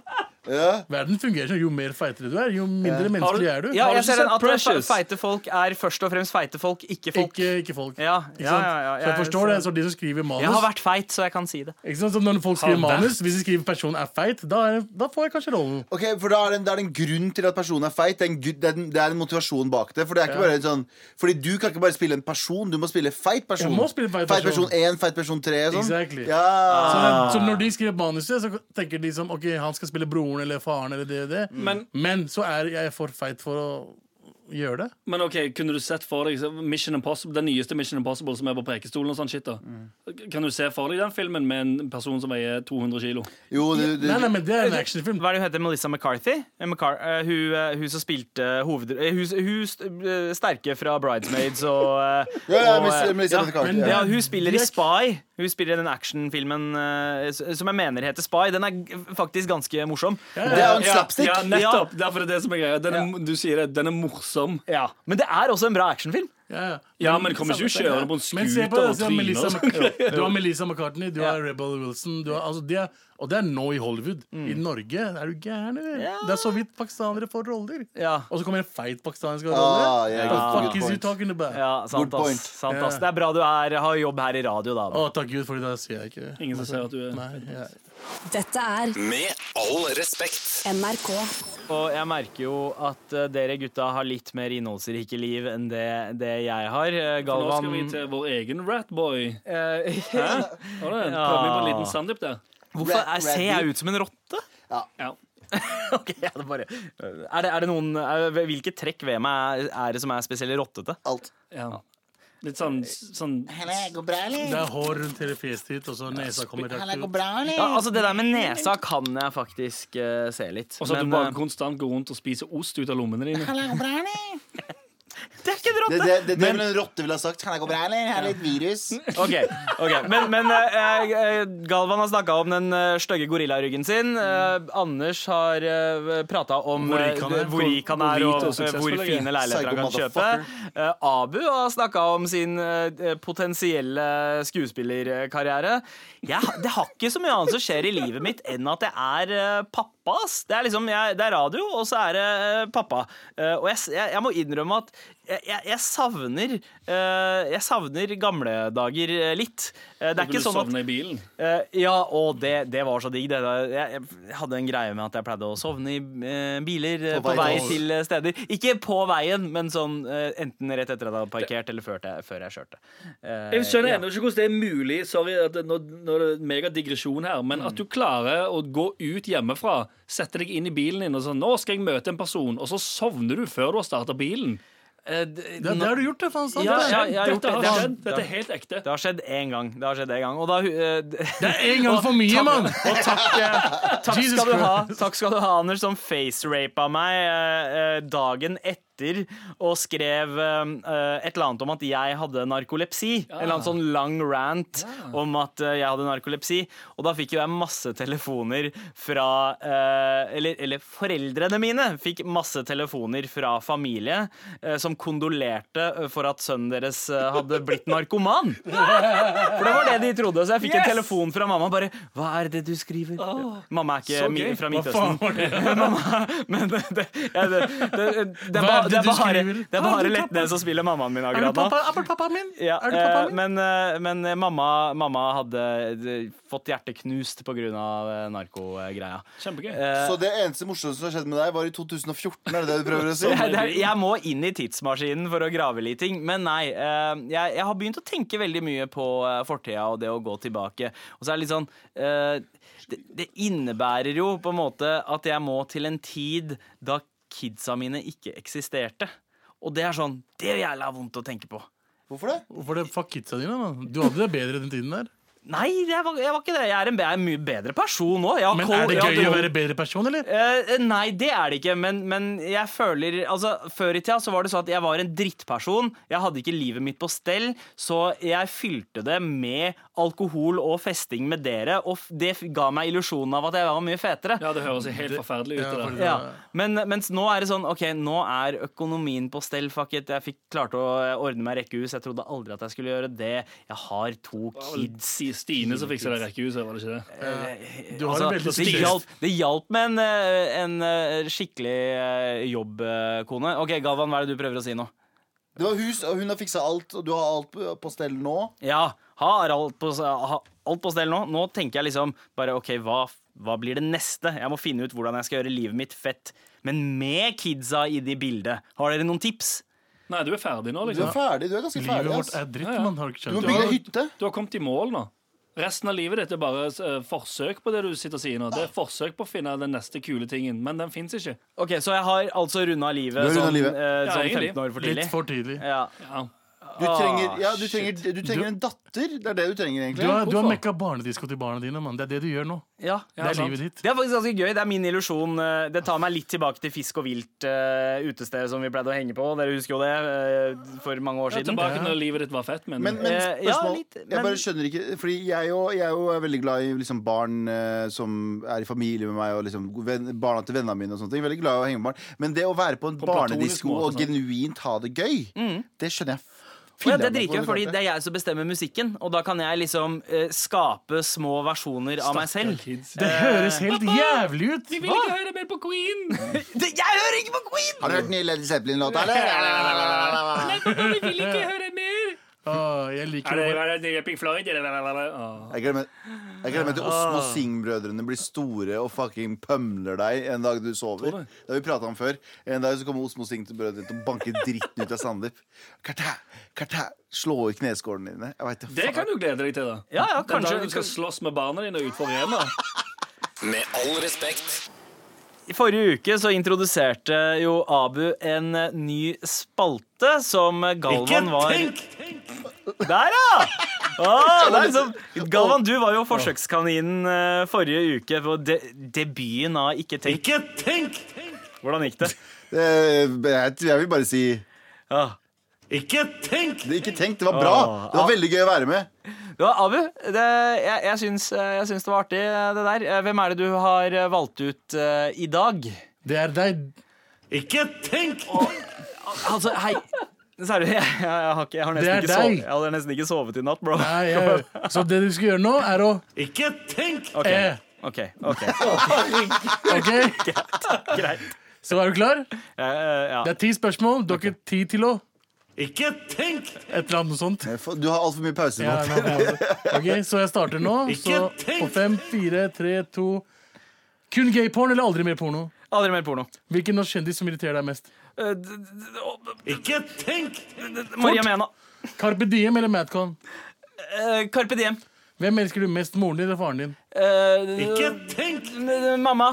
Speaker 4: Ja.
Speaker 6: Verden fungerer sånn, Jo mer feitere du er, jo mindre menneskelig er du.
Speaker 3: Ja,
Speaker 2: Har du
Speaker 3: jeg
Speaker 2: ikke
Speaker 3: ser den
Speaker 2: sett
Speaker 3: at fe-
Speaker 2: Precious?
Speaker 3: feite folk er først og fremst feite folk, ikke folk.
Speaker 6: Ikke, ikke folk.
Speaker 3: Ja,
Speaker 6: Ikke
Speaker 3: ja,
Speaker 6: sant?
Speaker 3: ja, ja,
Speaker 6: så jeg forstår det. Så de som skriver manus
Speaker 3: Jeg har vært feit, så jeg kan si det.
Speaker 6: ikke sant? Så Når folk
Speaker 2: Har
Speaker 6: skriver
Speaker 2: vært.
Speaker 6: manus, Hvis de skriver personen er feit, da, er, da får jeg kanskje rollen.
Speaker 4: Ok, for da er det, en- da er det en grunn til at personen er feit. Det er en, gru- det er en, det er en motivasjon bak det. For det er ikke bare en sånn Fordi du kan ikke bare spille en person, du må spille feit person.
Speaker 6: Jeg må spille feit person.
Speaker 4: 1, feit person 3 og sånn.
Speaker 6: Exactly.
Speaker 4: Ja.
Speaker 6: Så, så når de skriver manuset, så tenker de som Ok, han skal spille broren eller faren eller det og det.
Speaker 3: Mm.
Speaker 2: Men-
Speaker 6: Men så er jeg for feit for å gjøre det.
Speaker 2: Men ok, kunne du sett for deg så Mission Impossible, den nyeste Mission Impossible som er på prekestolen og sånn shit da?
Speaker 6: Mm.
Speaker 2: Kan du se for deg den filmen med en person som veier 200 kilo?
Speaker 4: Jo, du, du,
Speaker 6: Nei, nei, men det er en actionfilm.
Speaker 3: Hva er det hun heter? Melissa McCarthy? Eh, McCar eh, hun, eh, hun som spilte hoved... eh, hun, hun st eh, sterke fra Bridesmaids og, eh,
Speaker 4: ja, ja,
Speaker 3: og, eh,
Speaker 4: Miss- Miss Elizabeth Carter, ja.
Speaker 6: men-
Speaker 3: Ja, hun spiller i
Speaker 6: Jack-
Speaker 3: Spy. Hun spiller i den actionfilmen eh, s- som jeg mener heter Spy. Den er g- faktisk ganske morsom.
Speaker 4: Det er jo en
Speaker 2: Ja,
Speaker 4: slapstick.
Speaker 2: Ja, nettopp! Derfor er det det som er greia. Den er, Du sier det, den er morsom.
Speaker 3: Ja. Men det er også en bra actionfilm.
Speaker 6: Ja, ja.
Speaker 2: Ja, men kommer ikke hun kjørende på en
Speaker 6: Men se
Speaker 2: scooter
Speaker 6: på det,
Speaker 2: og
Speaker 6: se på Melissa
Speaker 2: tryner?
Speaker 6: Mc- Du har Melissa McCartney, du har Rebel Wilson du har, altså, det er, Og det er nå i Hollywood.
Speaker 3: Mm.
Speaker 6: I Norge er du gæren, eller? Det er så vidt pakistanere får roller.
Speaker 3: Ja.
Speaker 6: Og så kommer en feit pakistansk
Speaker 4: Ah,
Speaker 6: rolle.
Speaker 4: yeah,
Speaker 6: The
Speaker 4: good
Speaker 6: fuck is you
Speaker 4: point.
Speaker 6: talking about?
Speaker 3: Ja, sant,
Speaker 4: Good point.
Speaker 3: ass. sant ass.
Speaker 6: Ja.
Speaker 3: Det er bra du er, har jobb her i radio, da.
Speaker 6: Å, takk Gud, for da ser jeg ikke det.
Speaker 2: Ingen som ser at du er
Speaker 6: Nei, jeg-
Speaker 7: Dette er
Speaker 1: Med all respekt.
Speaker 7: NRK.
Speaker 3: Og jeg merker jo at eh, dere gutta har litt mer innholdsrike liv enn det, det jeg har. Eh,
Speaker 2: Nå
Speaker 3: Galvan
Speaker 2: skal vi til vår egen Ratboy.
Speaker 3: eh,
Speaker 2: Hæ? Har du en? Prøver vi på en liten Sandeep der?
Speaker 3: Hvorfor
Speaker 4: Rat-
Speaker 3: er, ser jeg ut som en rotte?
Speaker 2: Ja.
Speaker 3: Ok, jeg hadde bare er det, er det noen er, Hvilke trekk ved meg er, er det som er spesielt rottete?
Speaker 4: Alt.
Speaker 2: ja. Litt sånn, sånn
Speaker 6: Det er hår rundt hele fjeset ditt, og så nesa kommer rett ut.
Speaker 3: Ja, altså Det der med nesa kan jeg faktisk eh, se litt.
Speaker 2: Og så at du
Speaker 3: men,
Speaker 2: bare
Speaker 3: eh,
Speaker 2: konstant går rundt og spiser ost ut av lommene dine.
Speaker 3: det er ikke en
Speaker 4: Det,
Speaker 3: rotte!
Speaker 4: det, det, det vil en rotte ville ha sagt. Kan jeg gå bra, eller? Her er litt virus.
Speaker 3: Ok, ok. Men, men eh, eh, Galvan har snakka om den uh, stygge gorillaryggen sin. Eh, Anders har uh, prata om eh,
Speaker 6: Hvor rik han er.
Speaker 3: hvor rik han er,
Speaker 2: Hvor hvit
Speaker 3: og
Speaker 2: og
Speaker 3: eh, hvor
Speaker 2: suksessfull,
Speaker 3: fine leiligheter han kan
Speaker 4: Psycho
Speaker 3: kjøpe. Eh, Abu har snakka om sin eh, potensielle skuespillerkarriere. Jeg, det har ikke så mye annet som skjer i livet mitt enn at jeg er eh, pappa. ass. Det er liksom, jeg, det er radio, og så er det eh, pappa. Eh, og jeg, s- jeg, jeg må innrømme at jeg, jeg, jeg savner eh, Jeg savner gamle dager eh, litt. Eh, det er
Speaker 2: Du
Speaker 3: ikke sånn at
Speaker 2: sovner i bilen.
Speaker 3: Eh, ja, og det, det var så digg. Det, der. jeg, jeg hadde en greie med at jeg pleide å sovne i eh, biler eh,
Speaker 4: På
Speaker 3: på
Speaker 4: vei
Speaker 3: vei
Speaker 4: over.
Speaker 3: til eh, steder. Ikke på veien, men sånn eh, enten rett etter at jeg hadde parkert, eller før jeg, før jeg kjørte. Eh,
Speaker 2: Jeg skjønner ennå ikke hvordan det er mulig Sorry, at det, nå, nå er det mega digresjon her Men at du klarer å gå ut hjemmefra Sette deg inn i bilen din og sånn Nå skal jeg møte en person Og så sovner du før du har startet bilen
Speaker 3: eh, d-
Speaker 6: Det, det har du gjort, det, faen. sant
Speaker 3: Ja,
Speaker 6: det?
Speaker 3: ja, ja. jeg har gjort
Speaker 2: Dette
Speaker 3: det.
Speaker 2: har skjedd,
Speaker 3: Det har-
Speaker 2: dette er helt ekte
Speaker 3: det har skjedd én gang. Det har skjedd en gang Og da eh, d-
Speaker 6: Det er en gang for mye, mann!
Speaker 3: Takk, eh, takk,
Speaker 6: Jesus
Speaker 3: skal du ha,
Speaker 6: Christ.
Speaker 3: takk skal du ha, Anders, som facerapa meg eh, eh, dagen etter og skrev eh, eh, et eller annet om at jeg hadde narkolepsi. En eller annen sånn lang rant om at eh, jeg hadde narkolepsi. Og da fikk jo jeg masse telefoner fra eh, eller, eller foreldrene mine fikk masse telefoner fra familie eh, som kondolerte eh, for at sønnen deres eh, hadde blitt narkoman. For det var det de trodde. Så jeg fikk en telefon fra mamma. bare, Hva er det du skriver? mamma er ikke
Speaker 2: så
Speaker 3: mi,
Speaker 2: gøy.
Speaker 3: fra
Speaker 6: Hva faen
Speaker 3: Midtøsten.
Speaker 6: var det?
Speaker 3: mamma, men det, det, ja, det, det, det, er
Speaker 6: Hva
Speaker 3: ba-
Speaker 6: er det
Speaker 3: det er
Speaker 6: du
Speaker 3: bare,
Speaker 6: skriver?
Speaker 3: det er bare
Speaker 6: Er du pappa?
Speaker 3: Letnes som spiller mammaen min
Speaker 6: Er du
Speaker 3: akkurat nå.
Speaker 6: pappa, er du pappaen min?
Speaker 3: Ja,
Speaker 6: er du pappaen
Speaker 3: eh,
Speaker 6: min?
Speaker 3: men eh, men eh, mamma, mamma hadde eh, fått hjertet knust pga. eh, narkogreia.
Speaker 2: Kjempegøy
Speaker 4: Så det eneste morsomme som har skjedd med deg, var i 2014, er det det du prøver å si?
Speaker 3: Jeg, det er, jeg må inn i tidsmaskinen for å grave litt ting. Men nei, eh, jeg, jeg har begynt å tenke veldig mye på eh, fortida og det å gå tilbake. Og så er det litt sånn eh, det, det innebærer jo på en måte at jeg må til en tid da kidsa mine ikke eksisterte. Og det er sånn Det er jævla vondt å tenke på.
Speaker 4: Hvorfor det?
Speaker 6: Hvorfor det fuck kidsa dine, mann? Du hadde det bedre den tiden der.
Speaker 3: Nei, jeg var, jeg var ikke det. Jeg er en, be- jeg er en mye bedre person nå. Jeg har
Speaker 6: Men
Speaker 3: kol-
Speaker 6: er det
Speaker 3: jeg har
Speaker 6: gøy å
Speaker 3: drog-
Speaker 6: være bedre person, eller?
Speaker 3: Eh, nei, det er det ikke, men, men jeg føler Altså, Før i tida så var det sånn at jeg var en drittperson. Jeg hadde ikke livet mitt på stell, så jeg fylte det med alkohol og festing med dere, og f- det f- ga meg illusjonen av at jeg var mye fetere.
Speaker 2: Ja, det høres helt forferdelig ut.
Speaker 6: Ja,
Speaker 2: det
Speaker 6: for-
Speaker 2: der.
Speaker 3: Ja. Men mens nå er det sånn OK, nå er økonomien på stell. Fuck it. Jeg fikk klarte å eh, ordne meg rekkehus. Jeg trodde aldri at jeg skulle gjøre det. Jeg har to kids.
Speaker 2: Si Stine som fikser det rekkehuset, var det ikke det?
Speaker 6: Du har
Speaker 3: eh, altså,
Speaker 6: en veldig
Speaker 3: det,
Speaker 6: stress.
Speaker 3: hjalp, det hjalp med en, eh, en eh, skikkelig eh, jobbkone. OK, Galvan, hva er det du prøver å si nå?
Speaker 4: Du har hus, og hun har fiksa alt, og du har alt på- på stell nå.
Speaker 3: Ja, har alt på, ha alt på stell nå. Nå tenker jeg liksom bare OK, hva, hva blir det neste? Jeg må finne ut hvordan jeg skal gjøre livet mitt fett. Men med kidsa i de bildet. Har dere noen tips?
Speaker 2: Nei, du er ferdig nå,
Speaker 4: Du er
Speaker 2: liksom.
Speaker 4: ferdig, du er ganske
Speaker 6: Livet
Speaker 4: ferdig.
Speaker 6: vårt
Speaker 4: Ass.
Speaker 6: er dritt,
Speaker 2: Ja, ja.
Speaker 6: mann. Har du ikke
Speaker 4: Du må
Speaker 6: skjønt
Speaker 4: bygge deg
Speaker 6: det?
Speaker 4: hytte.
Speaker 2: Du har kommet i mål nå. Resten av livet ditt er bare eh, forsøk på det du sitter og sier nå. Det er forsøk på å finne den neste kule tingen, men den fins ikke.
Speaker 3: Ok, Så jeg har altså runda livet,
Speaker 4: Du har rundet
Speaker 3: sånn,
Speaker 4: livet.
Speaker 3: eh,
Speaker 2: Ja,
Speaker 3: sånn 15
Speaker 2: egentlig.
Speaker 3: år for tidlig?
Speaker 6: Litt for tidlig.
Speaker 3: Ja.
Speaker 2: Ja.
Speaker 4: Du trenger, ja, du
Speaker 3: Ah,
Speaker 4: trenger, du trenger en datter. Det er det du trenger,
Speaker 6: Du
Speaker 4: egentlig.
Speaker 6: har, du har
Speaker 2: Hvorfor?
Speaker 6: mekka barnedisko til barna dine, mann. Det er det du gjør nå.
Speaker 3: Ja.
Speaker 6: Det er
Speaker 2: sant.
Speaker 6: livet ditt.
Speaker 3: Det er faktisk ganske gøy. Det er min illusjon. Eh, Det tar meg litt tilbake til Fisk og vilt eh, utested som vi pleide å henge på. Dere husker jo det eh, for mange år
Speaker 2: Ja,
Speaker 3: siden.
Speaker 2: tilbake når livet ditt var fett, men,
Speaker 4: Men, men
Speaker 3: Eh, ja,
Speaker 4: spørsmål
Speaker 3: litt, men-
Speaker 4: Jeg bare skjønner ikke Fordi jeg jo, jeg jo er veldig glad i liksom barn eh, som er i familie med meg, og liksom venn, barna til vennene mine og sånne ting. Veldig glad i å henge med barn. Men det å være på en
Speaker 2: platonisk
Speaker 4: barnedisko
Speaker 2: måte,
Speaker 4: og
Speaker 2: sant?
Speaker 4: genuint ha det gøy, det skjønner jeg.
Speaker 3: Og sånn. Mm. ja,
Speaker 4: filler'n
Speaker 3: det driter
Speaker 4: meg på, liksom.
Speaker 3: jeg, fordi
Speaker 4: klarte.
Speaker 3: det er jeg som bestemmer musikken, og da kan jeg liksom eh, skape små versjoner av meg selv.
Speaker 2: Eh, kids.
Speaker 6: Det høres helt jævlig ut.
Speaker 2: Jeg vil ikke høre mer på Queen!
Speaker 3: Det, jeg hører ikke på Queen!
Speaker 4: Har du hørt den nye Led Zeppelin-låta, eller?
Speaker 2: Jeg vil ikke høre mer!
Speaker 6: Åh, Ah, jeg liker det.
Speaker 2: Er det Pink Floyd? Åh.
Speaker 4: Jeg glemmer, jeg glemmer til Åsne og Singh-brødrene blir store og fucking pømler deg en dag du sover.
Speaker 2: Tror du?
Speaker 4: Det har vi prata om før. En dag så kommer Åsne og Singh-brødrene til å banke dritten ut av Sandeep. Kartæ, kartæ, Slå i kneskålene dine. Jeg vet,
Speaker 2: Det kan du glede deg til, da.
Speaker 3: Ja, ja,
Speaker 2: Den
Speaker 3: kanskje-
Speaker 2: dagen du skal slåss med barna dine utenfor hjemmet.
Speaker 1: Med all respekt.
Speaker 3: I forrige uke så introduserte jo Abu en eh, ny spalte som eh, Galvan var Der, ja! Åh, det er liksom, Galvan, du var jo forsøkskaninen eh, forrige uke på de debuten av Ikke tenk.
Speaker 6: Ikke tenk!
Speaker 3: Hvordan gikk det?
Speaker 4: Eh, jeg, tror- jeg vil bare si
Speaker 3: Ja.
Speaker 6: Ikke tenk!
Speaker 4: det, Ikke tenk, det var bra. Det var veldig gøy å være med.
Speaker 3: Ja, Abu, det, jeg, jeg, syns, jeg syns det var artig, det der. Eh, Hvem er det du har valgt ut eh, i dag?
Speaker 6: Det er deg. Ikke tenk!
Speaker 3: Altså, hei Seriøst, jeg, jeg, jeg, har ikke- jeg, har nesten
Speaker 6: Det er
Speaker 3: ikke sovet-
Speaker 6: deg.
Speaker 3: jeg hadde nesten ikke sovet i natt, bro.
Speaker 6: Nei, jeg, så det du skal gjøre nå, er å Ikke tenk! Eh,
Speaker 3: OK. ok
Speaker 6: ok?
Speaker 3: Greit.
Speaker 6: Så er du klar?
Speaker 3: Eh, eh, ja.
Speaker 6: Det er ti spørsmål. Du har ikke tid til å Ikke tenk! Et eller annet sånt.
Speaker 4: For- Du har altfor mye pause
Speaker 6: Ja,
Speaker 4: nå.
Speaker 6: nå må jeg- ok, Så jeg starter nå. Så på fem, fire, tre, to Kun gayporn eller aldri mer porno?
Speaker 3: Aldri mer porno.
Speaker 6: Hvilken norsk kjendis som irriterer deg mest?
Speaker 3: Eh, d- d- d-
Speaker 6: Ikke tenk!
Speaker 3: Maria Mena.
Speaker 6: Carpe Diem eller Madcon?
Speaker 3: Eh, Carpe diem. Eh,
Speaker 6: Hvem elsker du mest, moren din eller faren din?
Speaker 3: Ikke
Speaker 6: tenk!
Speaker 3: Mamma.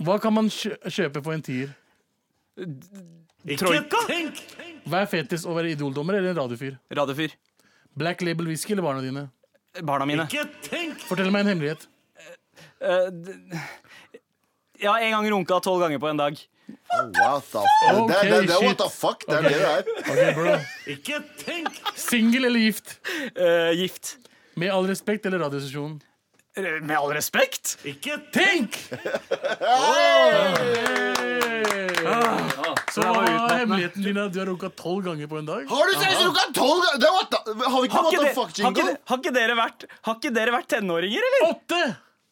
Speaker 6: Hva kan man kjø- kjøpe for en tier?
Speaker 3: Troika.
Speaker 6: Hva er fetest, å være idoldommer eller en radiofyr?
Speaker 3: Radiofyr.
Speaker 6: Black label whisky eller barna dine?
Speaker 3: Barna mine.
Speaker 6: Fortell meg en hemmelighet.
Speaker 3: Eh, d- ja, en gang runka tolv ganger på en dag.
Speaker 4: What the fuck? Det, er- det, er- det, er
Speaker 6: Ok,
Speaker 4: what the fuck? Det er det det er.
Speaker 6: Ok, bro. Singel eller gift?
Speaker 3: Eh, gift.
Speaker 6: Med all respekt eller radiostasjonen?
Speaker 3: Eh, Med all respekt.
Speaker 6: Tenk! Så hva er hemmeligheten din? at Du har runka tolv ganger på en dag?
Speaker 4: Har du seriøst runka tolv ganger? Det er what the- Har vi ikke
Speaker 3: Har ikke,
Speaker 4: what the
Speaker 3: de, har, ikke,
Speaker 4: fuck-jingle?
Speaker 3: de- har, ikke dere vært, har ikke dere vært tenåringer, eller?
Speaker 6: Åtte!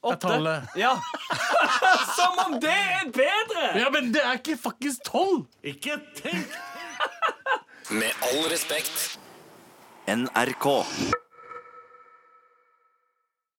Speaker 6: er tallet.
Speaker 3: Ja. Som om det er bedre!
Speaker 6: Ja, men det er ikke fuckings tolv!
Speaker 3: Ikke tenk
Speaker 1: Med all respekt.
Speaker 7: NRK.